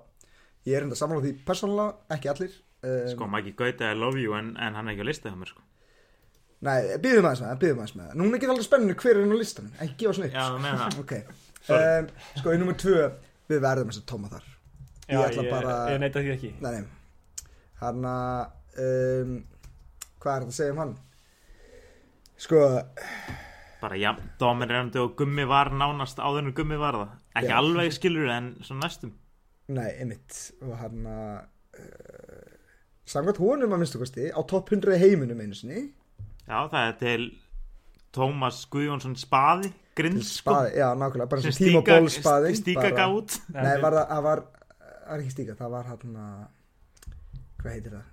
ég er enda samanlega því persónulega, ekki allir um, Sko, maður ekki gauta I love you en, en hann er ekki á listið hjá mér sko Nei, býðum aðeins með það, býðum aðeins með það Núna er ekki alveg spenninu hver er hann á listanum, en gefa svona upp Já, með það Ok, Sorry. um, sko í nummer 2 Við verðum þess að tóma þar Ég já, ætla bara- ég neita því ekki Nei, nei Hann að um, Hvað er þetta að segja um hann? Sko, Bara, já, dominirandi og gummi var nánast áður en gummi var það Ekki Já. alveg skilur en svona næstum nei, einmitt Og hann að uh, Samkvæmt honum að minnstu kosti Á topp 100 í heiminum einu sinni Já, það er til Tómas Guðjónsson spaði Grins, sko Spaði, já, nákvæmlega, bara Mm, sem tíma Stíka- og ból spaði Stíka bara- gaf út Nei, var það, það var Það var ekki stíka, það var hann að Hvað heitir það?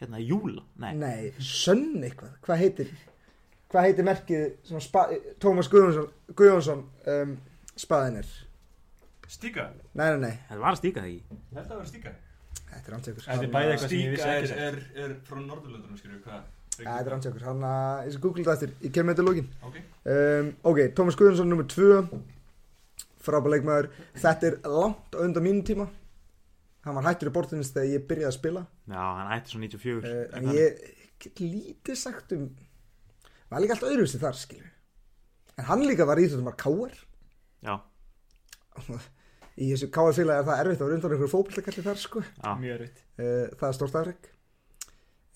Hérna, Júla, nei Nei, sönn eitthvað Hvað heitir Hvað heitir merkið sem spa, Tómas Guðjónsson, Guðjónsson um, spaðin er Stíka Nei, nei, nei, Þetta var að stíka það ekki Ég held að vera Stíka þetta er antjökur Þetta er bæði eitthvað sem ég vissi Stíka er, ekki sagt. er, er frá Norðurlöndunum skilur við hvað Þetta er antjökur, hann að Ég skal googla þetta eftir, ég kem með þetta í lókin Ok. um, Ok, Tómas Guðjónsson nummer 2 Frábæð leikmaður Þetta er langt á undan mínum tíma hann var hættur í bortinist þegar ég byrjaði að spila Já, hann ætti svo 94 uh, en ég get lítið sagt um var líka allt öðruvísi þar skilur en hann líka var í þetta var káar Já, í þessu káar félagi er það erfitt að vera undan einhverju fókbaltakalli þar sko já, mjög erfitt Eh, það er stórt afreg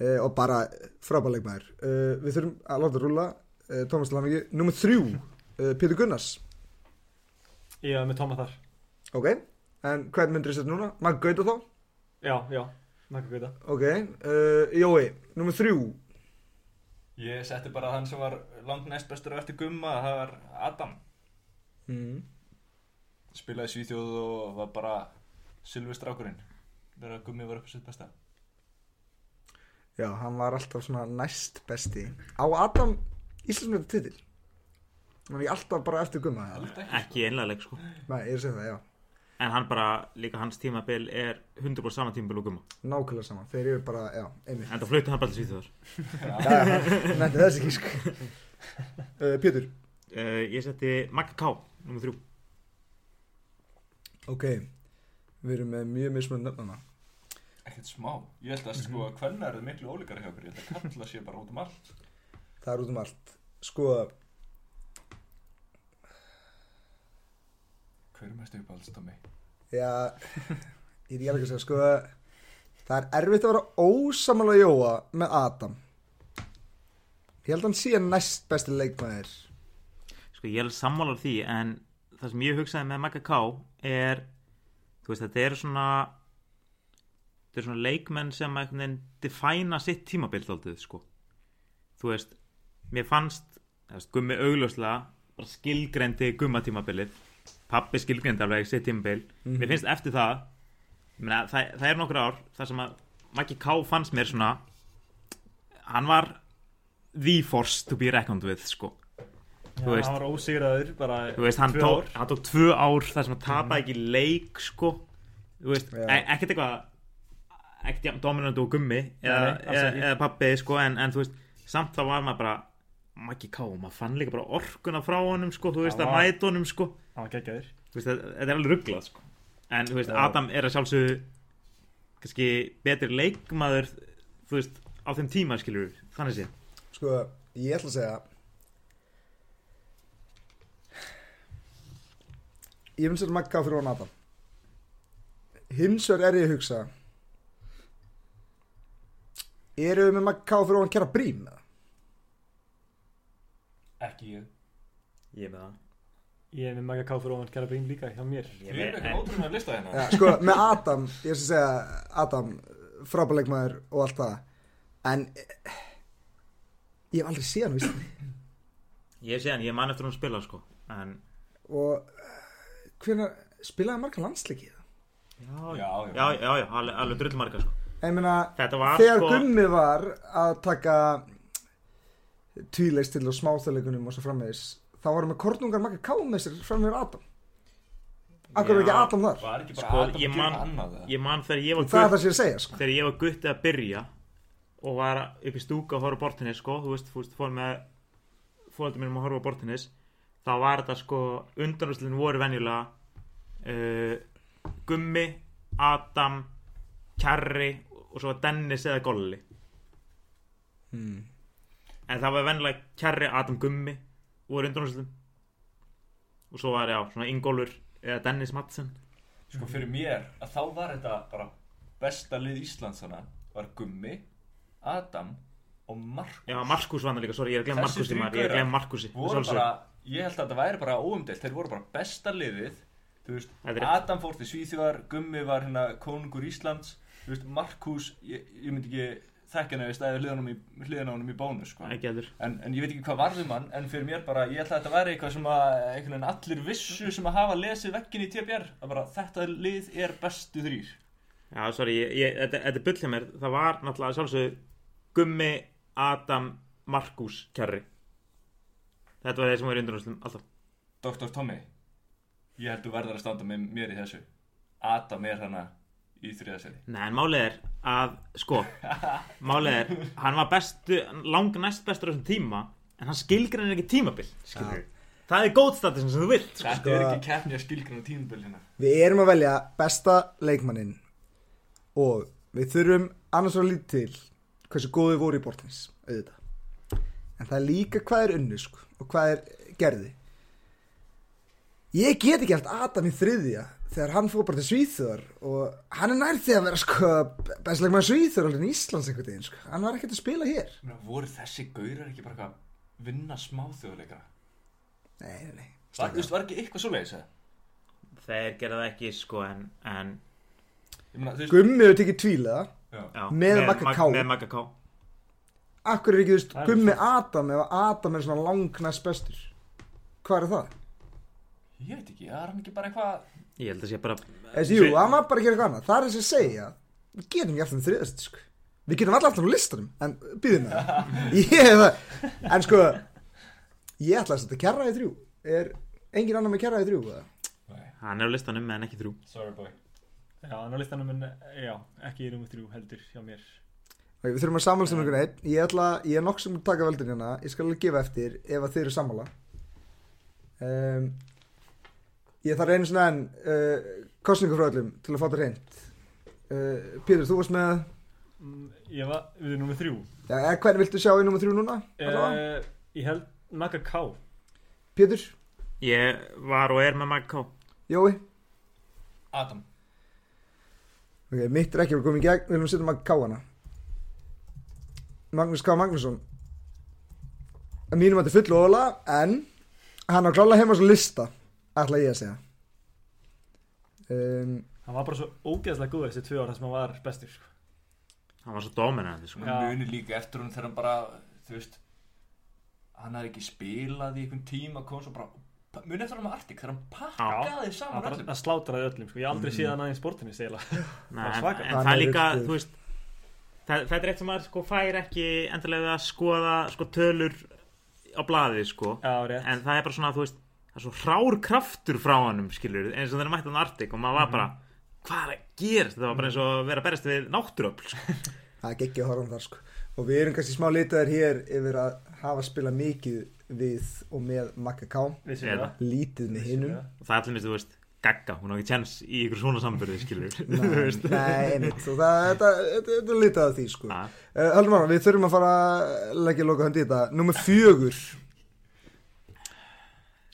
uh, og bara frábæleik maður uh, við þurfum að láta rúla uh, Tómas Lammingi, nummer þrjú uh, Pétur Gunnars, ég var með Tóma þar ok en hvern myndir þetta núna, maður gauta þá já, já, nakka gauta ok, uh, Jói, nummer þrjú Ég setti bara þann sem var langt næst bestur á eftir gumma, það var Adam. mm. Spilaði í Svíþjóð og var bara silvestrákurinn. Verða að gummi var upp á sitt besta. já, hann var alltaf svona næst besti á Adam Íslandsmyndir titil hann er alltaf bara eftir gumma eða? Held ekki. ekki einlega sko nei, ég er að segja það, já, En hann bara, líka hans tímabil er 100% sama tímabil og gumma nákvæmlega sama þeir eru bara, já, einmitt En það flauti hann bara til Svíþjóðar já, já, nætti þessi sko. kísk uh, Pétur uh, Ég seti Magga K, nummer 3 Ok, við erum með mjög mismunum nöfnana. Ekkert smá. Ég held að sko að hvernig eru miklu ólíkari hjá okkur. Ég held að kalla sé bara út um allt. Það er út um allt. Sko, Hver er mest uppáhaldst á mig? já, ég er ekki alveg að segja, sko, það er erfitt að vera ósamalega Jóa með Adam. Ég held að hann sé næst besti leikmaður. Sko ég er alveg sammálar því en það sem ég hugsaði með Magga K er þú veist þetta eru svona þetta eru svona leikmenn sem einhvern veginn defæna sitt tímabil þáttið sko þú veist, mér fannst þú veist, gummi augljóslega bara skilgrendi gumma tímabilið pappi skilgrendi alveg sitt tímabil mér finnst eftir það mena, það, það er nokkur ár þar sem að Maggi K fannst mér svona hann var the force to be reckoned with sko Já, veist. hann var ósigraður bara Þú veist, hann tvö tók, ár. hann tók tvö ár þar sem hann tapaði ekki leik, sko Þú veist, Já. e ekkert eitthvað ekkert jafn dominant og gummi eða, Nei, nei, alls eða, ekki. eða pappi, sko en, en þú veist, samt þá var maður bara Maggi K, maður fann líka bara orkuna frá honum, sko, þú veist, Hann að var- mæta honum, sko hann var geggjaður Þú veist, þetta þetta er alveg rugglað, sko En, þú veist, Já. Adam er að sjálfsögðu kannski betri leikmaður þú veist, á þeim tíma, skilur við þannig sé, Sko, ég ætla að segja, ég finnst þetta magga fyrir hann Adam. Hins vegar er ég að hugsa, eru við með magga fyrir hann kæra brím eða? Ekki ég. ég með það ég er með Magga K fyrir ofan Kjara Brím líka hjá mér Við Ég með- erum eitthvað en- ótrúin að lista hérna. Já, sko, með Adam, ég skal segja Adam, frábæleikmaður og allt það en eh, ég hef aldrei séð hann, víst Ég sé hann, ég man eftir hún spila, sko en, og hvernig spilaði marga landsleikið já, Já, já. já, já, já, alveg, alveg drullmarga sko. ég meina, Þetta var þegar sko Gummi var að taka tvíleist til og smáþjóðleikunum og svo framvegis þá varum við kornungar marga káumessir framvegir Adam akkur er Já, ekki Adam þar Var ekki bara Sko, Adam ég að man- gera annað það? Ég man þegar ég var það er það gutt sem ég er að segja, sko Þegar ég var gutt að byrja Og var upp í stúka að horfa á bortinni sko Þú veist, fórst fór með Fóldum mínum að horfa á bortinni Þá var þetta sko Undanrúslinn voru venjulega uh, Gummi Adam Kjarri Og svo var Dennis eða Golli hmm. En það var venjulega Kjarri, Adam, Gummi Voru undanrúslinn Og svo var já, svona Ingólfur Eða Dennis Madsen Sko fyrir mér að þá var þetta bara besta lið Íslands þannig var Gummi, Adam og Mark Já, Markus var það líka, sorry, ég er að glemma Þessi Markusi þrír maður, ég er að gaurar glemma Markusi voru bara, ég held að þetta væri bara óumdelt þeir voru bara besta liðið þú veist, Þetta er- Adam fór til Svíþjóðar Gummi var hérna konungur Íslands þú veist, Markus, ég, ég myndi ekki þekkja hann ef ég stæði hliðan á honum í bónus sko. Ekki heldur en, en ég veit ekki hvað varðum hann en fyrir mér bara, ég held að þetta væri eitthvað sem að einhvern veginn allir vissu sem að hafa lesið veggin í TBR að bara þetta lið er bestu þrýr Já, sorry, ég, ég, þetta, þetta er bull hjá mér Það var náttúrulega sjálfsögðu Gummi, Adam, Markus, Kjarri Þetta var þeir sem var í undrunarslum, alltaf Dr. Tommy Ég held þú verðar að standa með mér í þessu Adam er hana í þriðaseri Nei, en málið er að, sko Málið er, hann var bestu, lang næst bestur á þessum tíma En hann skilgreinir ekki tímabil, skilur við Það er góð status sem þú vilt, sko Þetta er ekki keppni að skilgrana tímabil hérna Við erum að velja besta leikmannin og við þurfum annars að lítið til hversu góðu voru í Bortins auðvitað en það er líka hvað er unnu sko, og hvað er gerði ég get ekki allt Adam í þriðja þegar hann fór bara til Svíþjóðar og hann er nær því að vera sko bestlega maður Svíþjóðar alveg í Íslands einhvern veginn sko. hann var ekkert að spila hér Ég meina, voru þessi gaurar ekki bara eitthvað að vinna smá þjóðleikara? nei, nei, nei Var, veist, var ekki eitthvað svo leiðis eða? Þeir gera það ekki sko en, en Ég meina, þú veist, Gummi hefur tekið tvílaða já, já, Með Magga Mag- K. Með Magga K Akkur er ekki, þú veist, Það er Gummi Adam ef Adam er svona langnæst bestur Hvað er það? ég veit ekki, það er hann ekki bara eitthvað, Ég held að sé bara Þessi, jú, hann var bara að gera eitthvað annað Það er þess að segja Við getum ekki aftur um þriðast, sko Við getum allar aftur um listanum En býðum með það Ég hef það En sko Ég ætla að setja kjarra í þrjú Er engin annar með kjarra í þrjú? eða? Hann er á listanum en ekki þrjú sorry boy. Já, en á listanum minn, já, ekki í nummer þrjú heldur hjá mér. Ok, við þurfum að sammálast um einhvern veginn Ég ætla, ég er nokk sem að taka veldin hérna Ég skal alveg gefa eftir ef að þið eru sammála um, Ég þarf einu svona enn uh, Kostningu frá öllum til að fá það reynd uh, Pétur, þú varst með Mm, Ég var, við erum nummer þrjú. Já, eða hvern viltu sjá í nummer þrjú núna? Uh, Eh, Ég held Magga K. Pétur, Ég var og er með Magga K Jói Adam, Ok, mitt er ekki að koma í gegn Við viljum setja maður káana Magnús K. Magnússon Að mínum að þetta er full og óla En hann á klála heima svo lista Ætla ég að segja um, Hann var bara svo ógeðslega góð þessi tvö ár þar sem hann var bestur. sko. Hann var svo dominandi sko Já. hann muni líka eftir hún þegar hann bara, þú veist, hann er ekki spilað í einhvern tíma, kom svo bara, muni eftir hann með Artik, þegar hann pakkaði Hann saman bara öllum. að slátraði öllum, sko. Ég hef aldrei Mm. séð hann aðeins sportinni, segila. Það er Nei, en, svaka. en Hann það er er líka, uppstöður. þú veist það, það er eitt sem maður sko fær ekki endilega við að skoða sko tölur á blaði sko Já, rétt. en það er bara svona, þú veist það er svo hrár kraftur frá hannum, skilur eins og þeirra mætti hann Artik og maður var bara hvað er að gerast, það var bara eins og að vera að berjast við náttúröfl, sko. Það er ekki að horfa um það sko Og við erum kannski smá litaðir hér Yfir að hafa spilað mikið við og með Magga K Við Eða. séum það. Lítið með hinum og það er allir minnst, þú veist, gagga hún á ekki tjens í ykkur svona samburði, skilur þú Nei, veist, nei, einmitt Og það, þetta, þetta, þetta er litað af því sko að Uh, Haldum ára, við þurfum að fara að leggja loka höndi í þetta Númer fjögur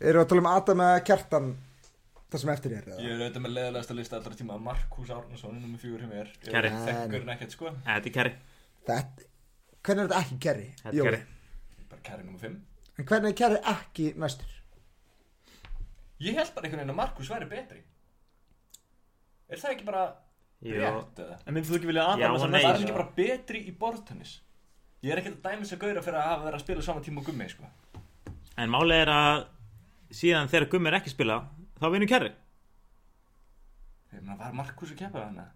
Eru að tala um Adam eða Kjartan Það sem eftir er Ég yeah. er auðvitað með leðilegasta lista allra tíma, Markus Árnason, nummer fjögur hjá mér. Ég Kæri. Þekkur en ekkert, sko. þetta er kæri, Þetta, Hvernig er þetta ekki kerri? þetta er kæri Bara kæri nummer fimm. En hvernig er kerri ekki næstur? Ég held bara einhvern veginn að Markus væri betri. Er það ekki bara Jú, rétt eða? En myndir þú ekki vilja að Já, Adam og sem nei, Það er næst? ekki sko. bara betri í borðtennis Ég er ekkert að dæmis að gauðra fyrir að hafa verið að spila saman tíma og gummi sko. en málið er að síðan þegar Gummi er ekki að spila þá vinur kæri Ég meina, var Markus að keppa þannig?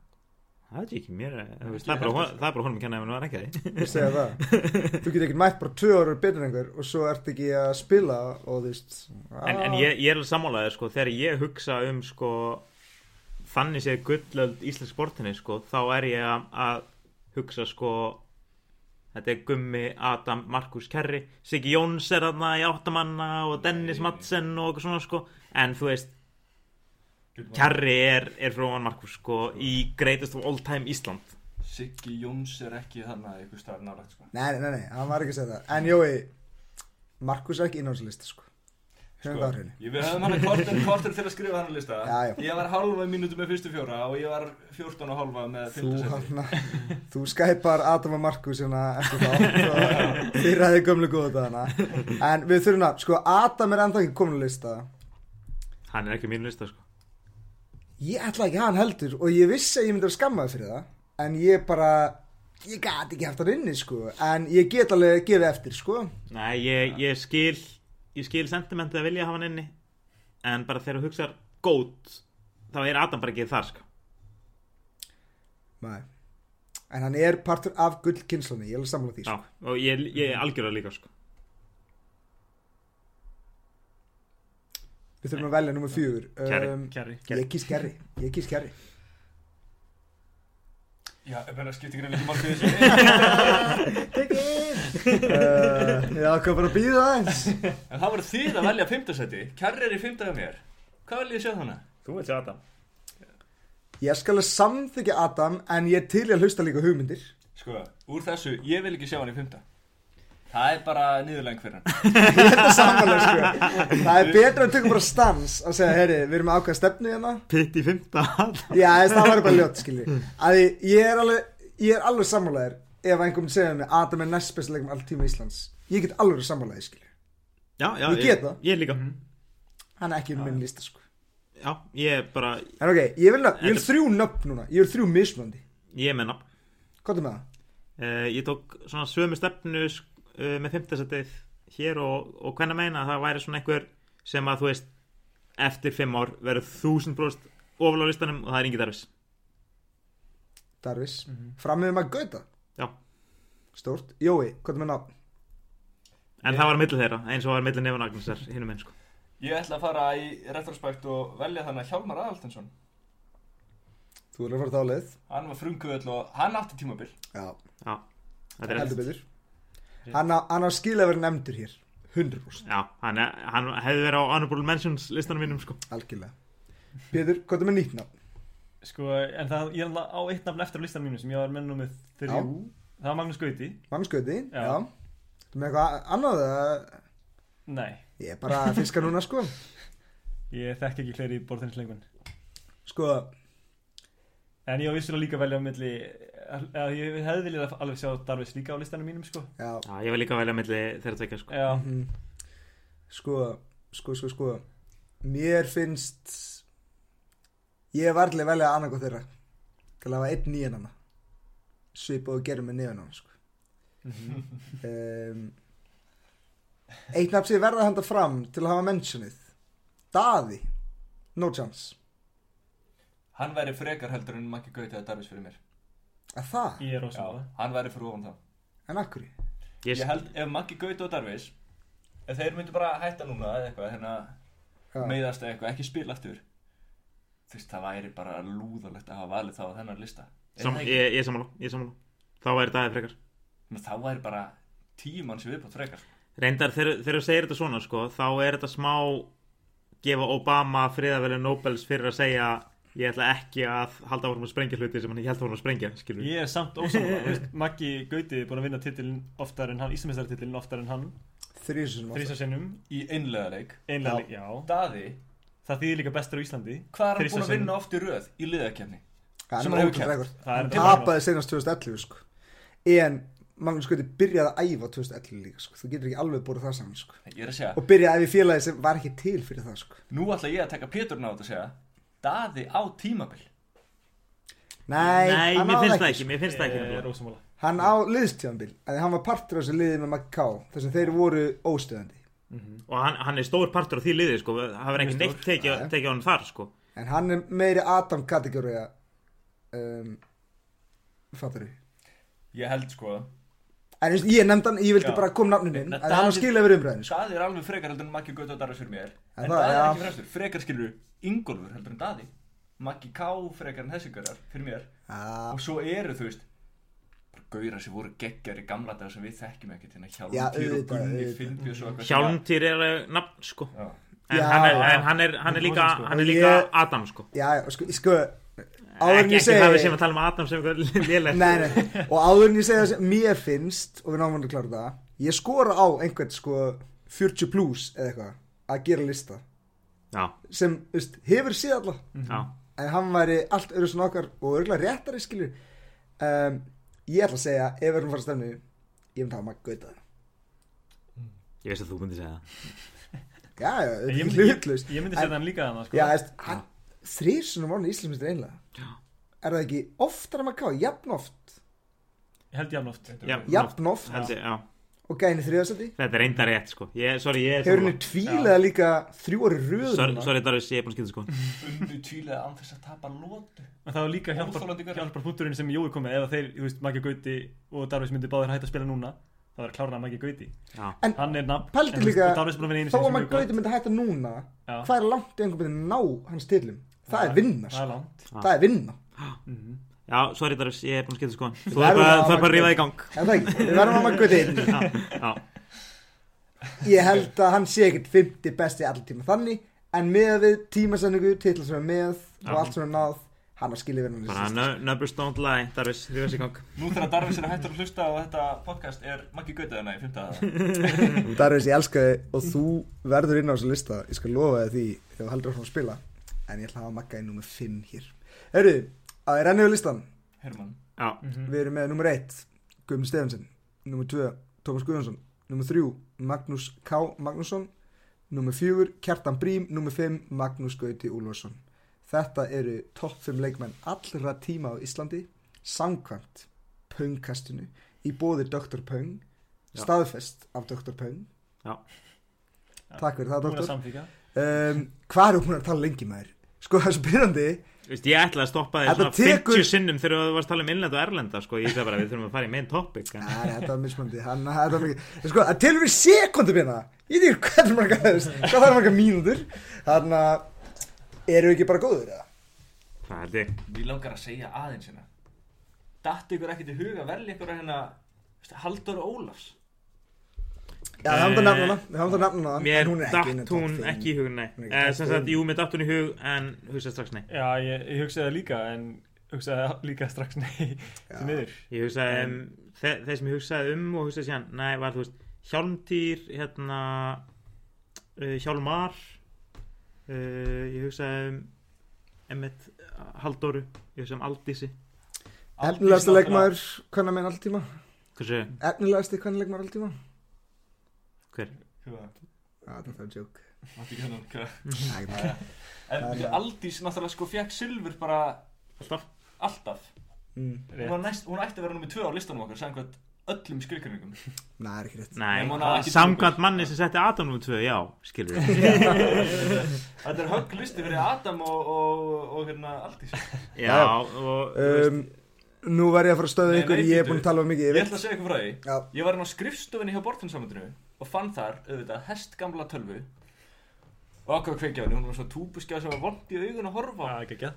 Það veit ég ekki, mér, eh, þú veist, Ekki það er bara, heldur, hon- það er bara honum að kenna ef hann var ekki að því. Ég segja það Þú getur ekki mætt bara tvö ára betur en einhver Og svo ert ekki að spila og þú veist ah. En, en ég, ég er alveg sammálaðið, sko, þegar ég hugsa um, sko, þannig séð gullöld íslensk sportinni, sko, þá er ég að, að hugsa, sko, þetta er Gummi, Adam, Markus Kerry, Siggi Jóns er þarna í áttamanna og Dennis Madsen og eitthvað svona, sko, en þú veist, Kerry er, er frá hann Markus, sko, í greatest of all time Ísland. Siggi Jóns er ekki þannig að ykkur staðar nálægt sko. Nei, nei, nei, nei, hann var ekki að segja það En Jói, Markus er ekki innhámslista sko Höfum það á hreinu Ég við höfum hann að kortur, kortur til að skrifa hann að lista hérna. Já, já. Ég var halva mínútu með fyrstu fjóra og ég var 14 og halva með Þú, fimmta seti. hana, þú skæpar Adam og Markus hérna eftir þá þeirra þið gömlu góða hana en við þurfum að, sko Adam er ennþá ekki komin að lista Hann er ekki á mínu lista, sko. ég ætla ekki að hann heldur og ég vissi að ég myndi að skamma það fyrir það en ég bara, ég gat ekki haft hann inni sko, en ég get alveg að gefa eftir sko, Nei, ég, ég skil ég skil sentimentið að vilja hafa hann inni en bara þegar þú hugsar gót þá er Adam bara ekki þar sko. Nei. en hann er partur af gullkynnslunni, ég er alveg sammála því Já, sko. og ég, ég er algjörlega líka sko. við þurfum að velja nummer fjögur Um, Kjarri, Kjarri. ég kýst Kerry, ég kýst Kerry Já, ég meina skipti greið ekki málkið þessu uh, já, hvað bara að býða aðeins En það voru þið að velja fimmta seti Kjarri er í fimmta hjá mér Hvað vel ég sjá þannig? Þú veit sér Adam. Ég skal að samþykja Adam en ég er til í að hlusta líka hugmyndir Sko, úr þessu, ég vil ekki sjá hann í fymta Það er bara niðurlegin fyrir hann Ég held að samanlega sko Það er betra að tökum bara stans að segja, heyri, við erum ákveða stefnu hérna Pitt í fymta Já, þess, það var bara ljótt, skilji Að ég, ég er alveg, ég er alveg sammálaðir ef einhver myndi segja mig Adam er næst besta leikum all tíma Íslands Ég get alveg sammálaðir, skilji Já, já, Ég get það. Ég líka Hann er ekki um minn lista, sko Já, ég er bara, En ok, ég vil, nöfn, ég vil þrjú nöfn núna Ég vil þrjú mismöndi ég menna Hvað er með það? uh, Ég tók svona sömu stefnu uh, með fymtasettið hér og, og hvernig meina að það væri svona einhver sem að þú veist eftir fimm ár verður þúsund bróst ofal á listanum og það er ingi derfis Darvis mm -hmm. Frammiðum að gauta Já, Stórt Jói, hvað er með nafn? en það var að milli þeirra eins og var að milli nefn Agnesar hinum einn sko Ég ætla að fara í retrospekt og velja þannig að Hjálmar Aðaltinsson Þú er að fara þá leið Hann var frumkvöld og hann átti tímabil Já, Já, þetta er heldur rétt betur Hann á, hann á skil að vera nefndur hér 100% Já, hann, er- hann hefði verið á honorable mentions listanum mínum sko Algjörlega Pétur, hvað er með nýtt nafn? Sko, en það, ég er alveg á eitt nafn eftir á listan mínu sem ég var með nummið þrjú Það var Magnús Gauti Mannskauti Já. Já Þú með eitthvað annað eða? Nei, Ég er bara að fiska núna sko ég þekk ekki fleiri borðinnislengun Sko En ég á vissulega líka að velja á milli eða Ég hefði viljað alveg sjá Darvis líka á listanum mínum, sko Já Já, ég var líka að velja milli þeirra tvekja sko Já, mm, Sko Sko, sko, sko Mér finnst Ég var allir velja annað góð þeirra Kalla að hafa einn nýjan hana Svipa og gerum með nýjan hana sko um, Eitt nafn sem ég verða að handa fram Til að hafa mentionið Daði No chance Hann væri frekar heldur en Maggi Gauti að Darvis fyrir mér Að það? ég er ósum Hann væri fyrir ofan þá En akkur Ég, Ég held ef Maggi Gauti og Darvis Ef þeir myndu bara hætta núna eða eitthvað Hérna Já, meiðast eða eitthvað, ekki spila aftur Þú veist, það væri bara lúðalegt að hafa valið þá á þennan lista Er sam, það ekki? ég, ég samála, ég samála Þá væri dagið frekar Menn, Þá væri bara tíu manns viðbótt frekar Reyndar, þegar þegar þú segir þetta svona sko, þá er þetta smá gefa Obama friðavelu Nobels fyrir að segja ég ætla ekki að halda áfram að sprengja hluti sem hann ég held áfram að sprengja, skilur Ég er samt ósamlega, þú veist, Maggi Gauti er búin að vinna titilin oftar en hann, Íslandsmeistartitilin oftar en hann, þrísum þrísa sinnum, Í einlega leik Já. einlega, leik- já, Daði, það þýðir líka bestur á Íslandi, hvað er hann Þrisvar búin að sinnum. vinna oft í röð í liðakefni? Hann Sem er hann hefur ótrúlega keppt. rekord. Það er Hann bara- tapaði senast 2011 sko. En Magnús Gauti byrjaði að æfa 2011 líka sko. Þú getur ekki alveg búið það saman sko. Ég er að segja, Og byrjaði að æfa í félagi sem var ekki til fyrir það sko. nú ætla ég að taka Péturinn á þetta og segja Daði á tímabil Nei, Nei, hann á mér það finnst það sko. ekki, mér finnst það ekki Ég er nefnilega. ósamlega. Hann á liðstjáðanbil En hann var partur af þessu liði með Macau Þess að þeir voru óstöðandi og hann, hann er stór partur á því liði sko, það verður ekki neitt tekið teki á hann þar sko. En hann er meiri Adam kategóri um, Fattar við Ég held sko, En þú veist, ég nefndi hann, ég vildi Já. bara koma nafninu inn Nei, En hann á Davíð- skilja yfir umræðinu sko. Daði er alveg frekar heldur en Maggi Gauti og Darvis fyrir mér En En það, Daði er já. ekki frestur, frekar skilur Ingólfur heldur en Daði Maggi K frekar en þessi gaurar fyrir mér Ah, og svo eru þú veist bara gauðra sem voru geggjar í gamla dagar sem við þekkjum ekkert hérna Já, Hjálmtýr og auðvitað, Gunni auðvitað. Finnbjörns og eitthvað sem að- Hjálmtýr er alveg nafn sko. Já. en, Já. hann er, en hann er, hann er líka, sko. hann er líka Ég- Adam sko. Já, já, sko, sko Áður en ekki, ég ekki segi það við sem að tala um Adam sem eitthvað lélegt nei, nei. og áður en ég segja það sem mér finnst og við náum hann að klára það ég skora á einhvern sko 40 plus eða eitthvað að gera lista já, sem þú veist, hefur séð alla já, en hann væri allt öðru svona okkar og örgulega réttari skilur um, ég ætla að segja ef við erum að fara að stefnu ég myndi hafa maður gauta ég veist að þú myndi segja það já, já, þetta Ég er myndi- ekki Ég hlutlust ég myndi setja hann líka þannig, sko. já, veist, hann þrísunum orðin íslensmistur einlega er það ekki oftar að maður ká, jafn oft Ég held jafn oft. Já, jafn oft Held ég- já. og gæni þriðasæti þetta er reyndar rétt sko. ég, sorry, ég er hefur sammála. henni tvílega líka þrjú orði röð Sorry, núna. sorry Darvis, ég er búin að skipta sko unnu tvílega án þess að tapa lótu En það var líka hjálpar, Óþolandi gaur. hjálpar punkturinn sem Jói kom með, ef að þeir, þú veist, Maggi Gauti og Darvis myndi báðir hægt að spila núna, það var klárna Maggi Gauti. Já, En Hann er nafn, Pældu en þú veist, líka- og Darvis búin að vinna einu Þó sinni að sem maður er gott. gauti myndi hætta núna Já. Hvað er langt í einhver myndi ná hans tilum Það er vinna Það sko. er langt. Já. Það er vinna já sorry Darvis, ég er búin að skipta sko Þú verður er bara, að- það er bara að rífa í gang Er það ekki? Við verðum að maður gauti inn Já, Ég held að hann sé ekkert 50 besti allir tíma þannig En með við tímasetningu, titla sem er með Og Já. allt sem er náð hann að skilja vinnan Bara no, numbers don't lie, Darvis, því þessi gang Nú þegar Darvis er að hættur að hlusta á þetta podcast er Maggi Gautaðina í fymtaða Darvis, ég elska þig og þú verður inn á þessu lista ég skal lofa þér því ef þú heldur áfram að spila en ég ætla að hafa Magga í nummer 5 hér Herru, að ég renni við listan Herman Já, við erum með nummer 1 Guðmund Stefansson, nummer 2 Tómas Guðjónsson, nummer 3 Magnús K. Magnússon nummer 4 Kjartan Brím, nummer 5 Magnús Gauti Úlfarsson þetta eru topp 5 leikmenn allra tíma á Íslandi samkvæmt Pöngkastinu í bóði Dr. Pöng Já. staðfest af Dr. Pöng Já. Takk fyrir það, Búin að doktor. samþýka Um, hvað erum búin að tala lengi maður? Sko, það er spyrjandi. Vist, ég ætlaði að stoppa þig Þetta svona tekur- 50 sinnum þegar þú varst að tala um innlenda og erlenda sko, ég ætlaði bara að við þurfum að fara í main topic en... Nei, þetta var mismandi. Hann, þetta var mikið. Sko, það telur við sekundum hérna. Ég veit ekki hvað er marga, þú veist, hvað er marga mínútur. Þannig að, eru við ekki bara góður, eða? Það held ég Mér langar að segja aðeins hérna Datt ykkur ekkert í huga velja ykkur að hérna veistu, Halldór Ólafs Já, við hafum það nafnuna, við hafum það nafnuna. Mér en hún er ekki inni í datt topp hún fimm. ekki í hug, nei Hún er ekki eh, topp Sem fimm. sagt, jú, mér datt hún í hug en hugsaði strax nei Já, ég, ég hugsaði það líka en hugsaði líka strax nei til miður Ég hugsaði um, þe þeir sem ég hugsaði um og hugsaði síðan, nei, var þú veist Hjálmdýr, hérna uh, Hjálmar uh, Ég hugsaði um Emmet Halldóru Ég hugsaði um Aldísi Efnilegasti leikmaður, hvernig menn alltíma? Hversu, Efnilegasti, hvernig leikmaður alltíma? hver? Mátti Já, það er það joke. ekki hennan hvað Nei, það er- En Það er- ja. Aldís náttúrulega sko fekk silfur bara Alltaf alltaf Mm, Hún, var næst, hún ætti að vera nummið tvö á listanum okkar Samkvæmt öllum skilgrinningum Nei, það er ekki rétt. Nei, Nei, hún á ekki samkvæmt manni sem setti Adam nr. 2, já, skilur við Þetta er högg listi fyrir Adam og, og, og hérna Aldís Já, og þú veist, Um, nú var ég að fara að stöða Nei, ykkur, nei, ég er bíddu. búin að tala um mikið, ég Ég veit. ætla að segja ykkur frá því Já, Ég var inn á skrifstofinni hjá Bortinssamöndinu og fann þar, auðvitað, hest gamla tölvu og ákvað að kveikja á henni, hún var svo túpuskjáð sem var vond í augun að horfa á Já, ekki ekki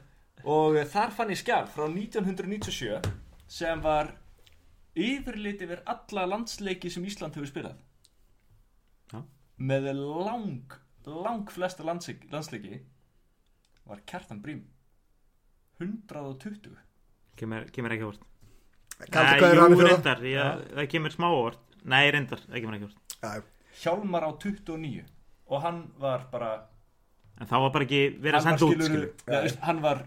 og eh, þar fann ég skjál frá 1997 sem var yfirlit yfir alla landsleiki sem Ísland hefur spilað Já. með lang, lang flesta landsleiki, landsleiki var Kjartan Brím 120 kemur, kemur ekki óvart kannski hvað er hann jú, fyrir það? reyndar, já, það kemur smá óvart Nei, reyndar, það kemur ekki óvart Já, Hjálmar á 29 og hann var bara En þá var bara ekki verið að hann var, senda út, skilur, skilur ja, veist, hann var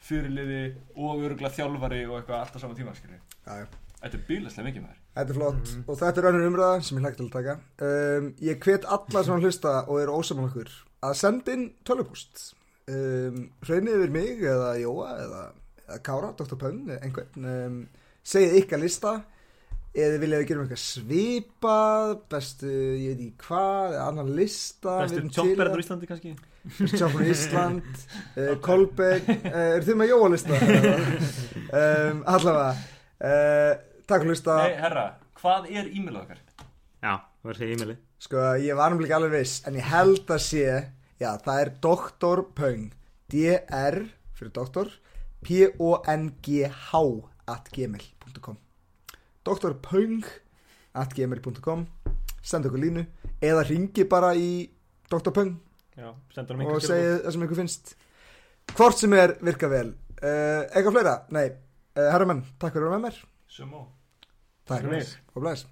fyrirliði og öruglega þjálfari og eitthvað allt á sama tíma skilur. já, já. Þetta er bílaslega mikið maður Þetta er flott og þetta er önnur umræða sem ég hlægt til að taka. Um, ég hvet alla sem að hlusta og eru ósaman okkur að senda inn tölvupúst. Um, Hraunið yfir mig eða Jóa eða, eða Kára, Dr. Pönn, eða einhvern. Um, segið ykkar lista eða viljið við gerum eitthvað svipað, bestu, ég veit ekki hvað, eða annan lista. við Bestur erum til í tjóppverður það. í Íslandi kannski Kristjáfur Ísland uh, Kolbeck, uh, eru þið með Jóalista? um, allavega uh, takk fyrir að hlusta Nei, herra, hvað er e-mail okkar? Já, það var að segja e-maili sko ég var náttúrulega ekki alveg viss en ég held að sé já það er Dr. Pöng DR fyrir doktor P-O-N-G-H at gmail.com Dr. Pöng at gmail.com senda okkur línu eða ringi bara í Dr. Pöng Já, sendur hann og einhver segja það sem ykkur finnst hvort sem er virka vel uh, Eh, eitthvað fleira, nei uh, herrumenn, takk fyrir að vera með mér Sumo takk fyrir mig. og blæs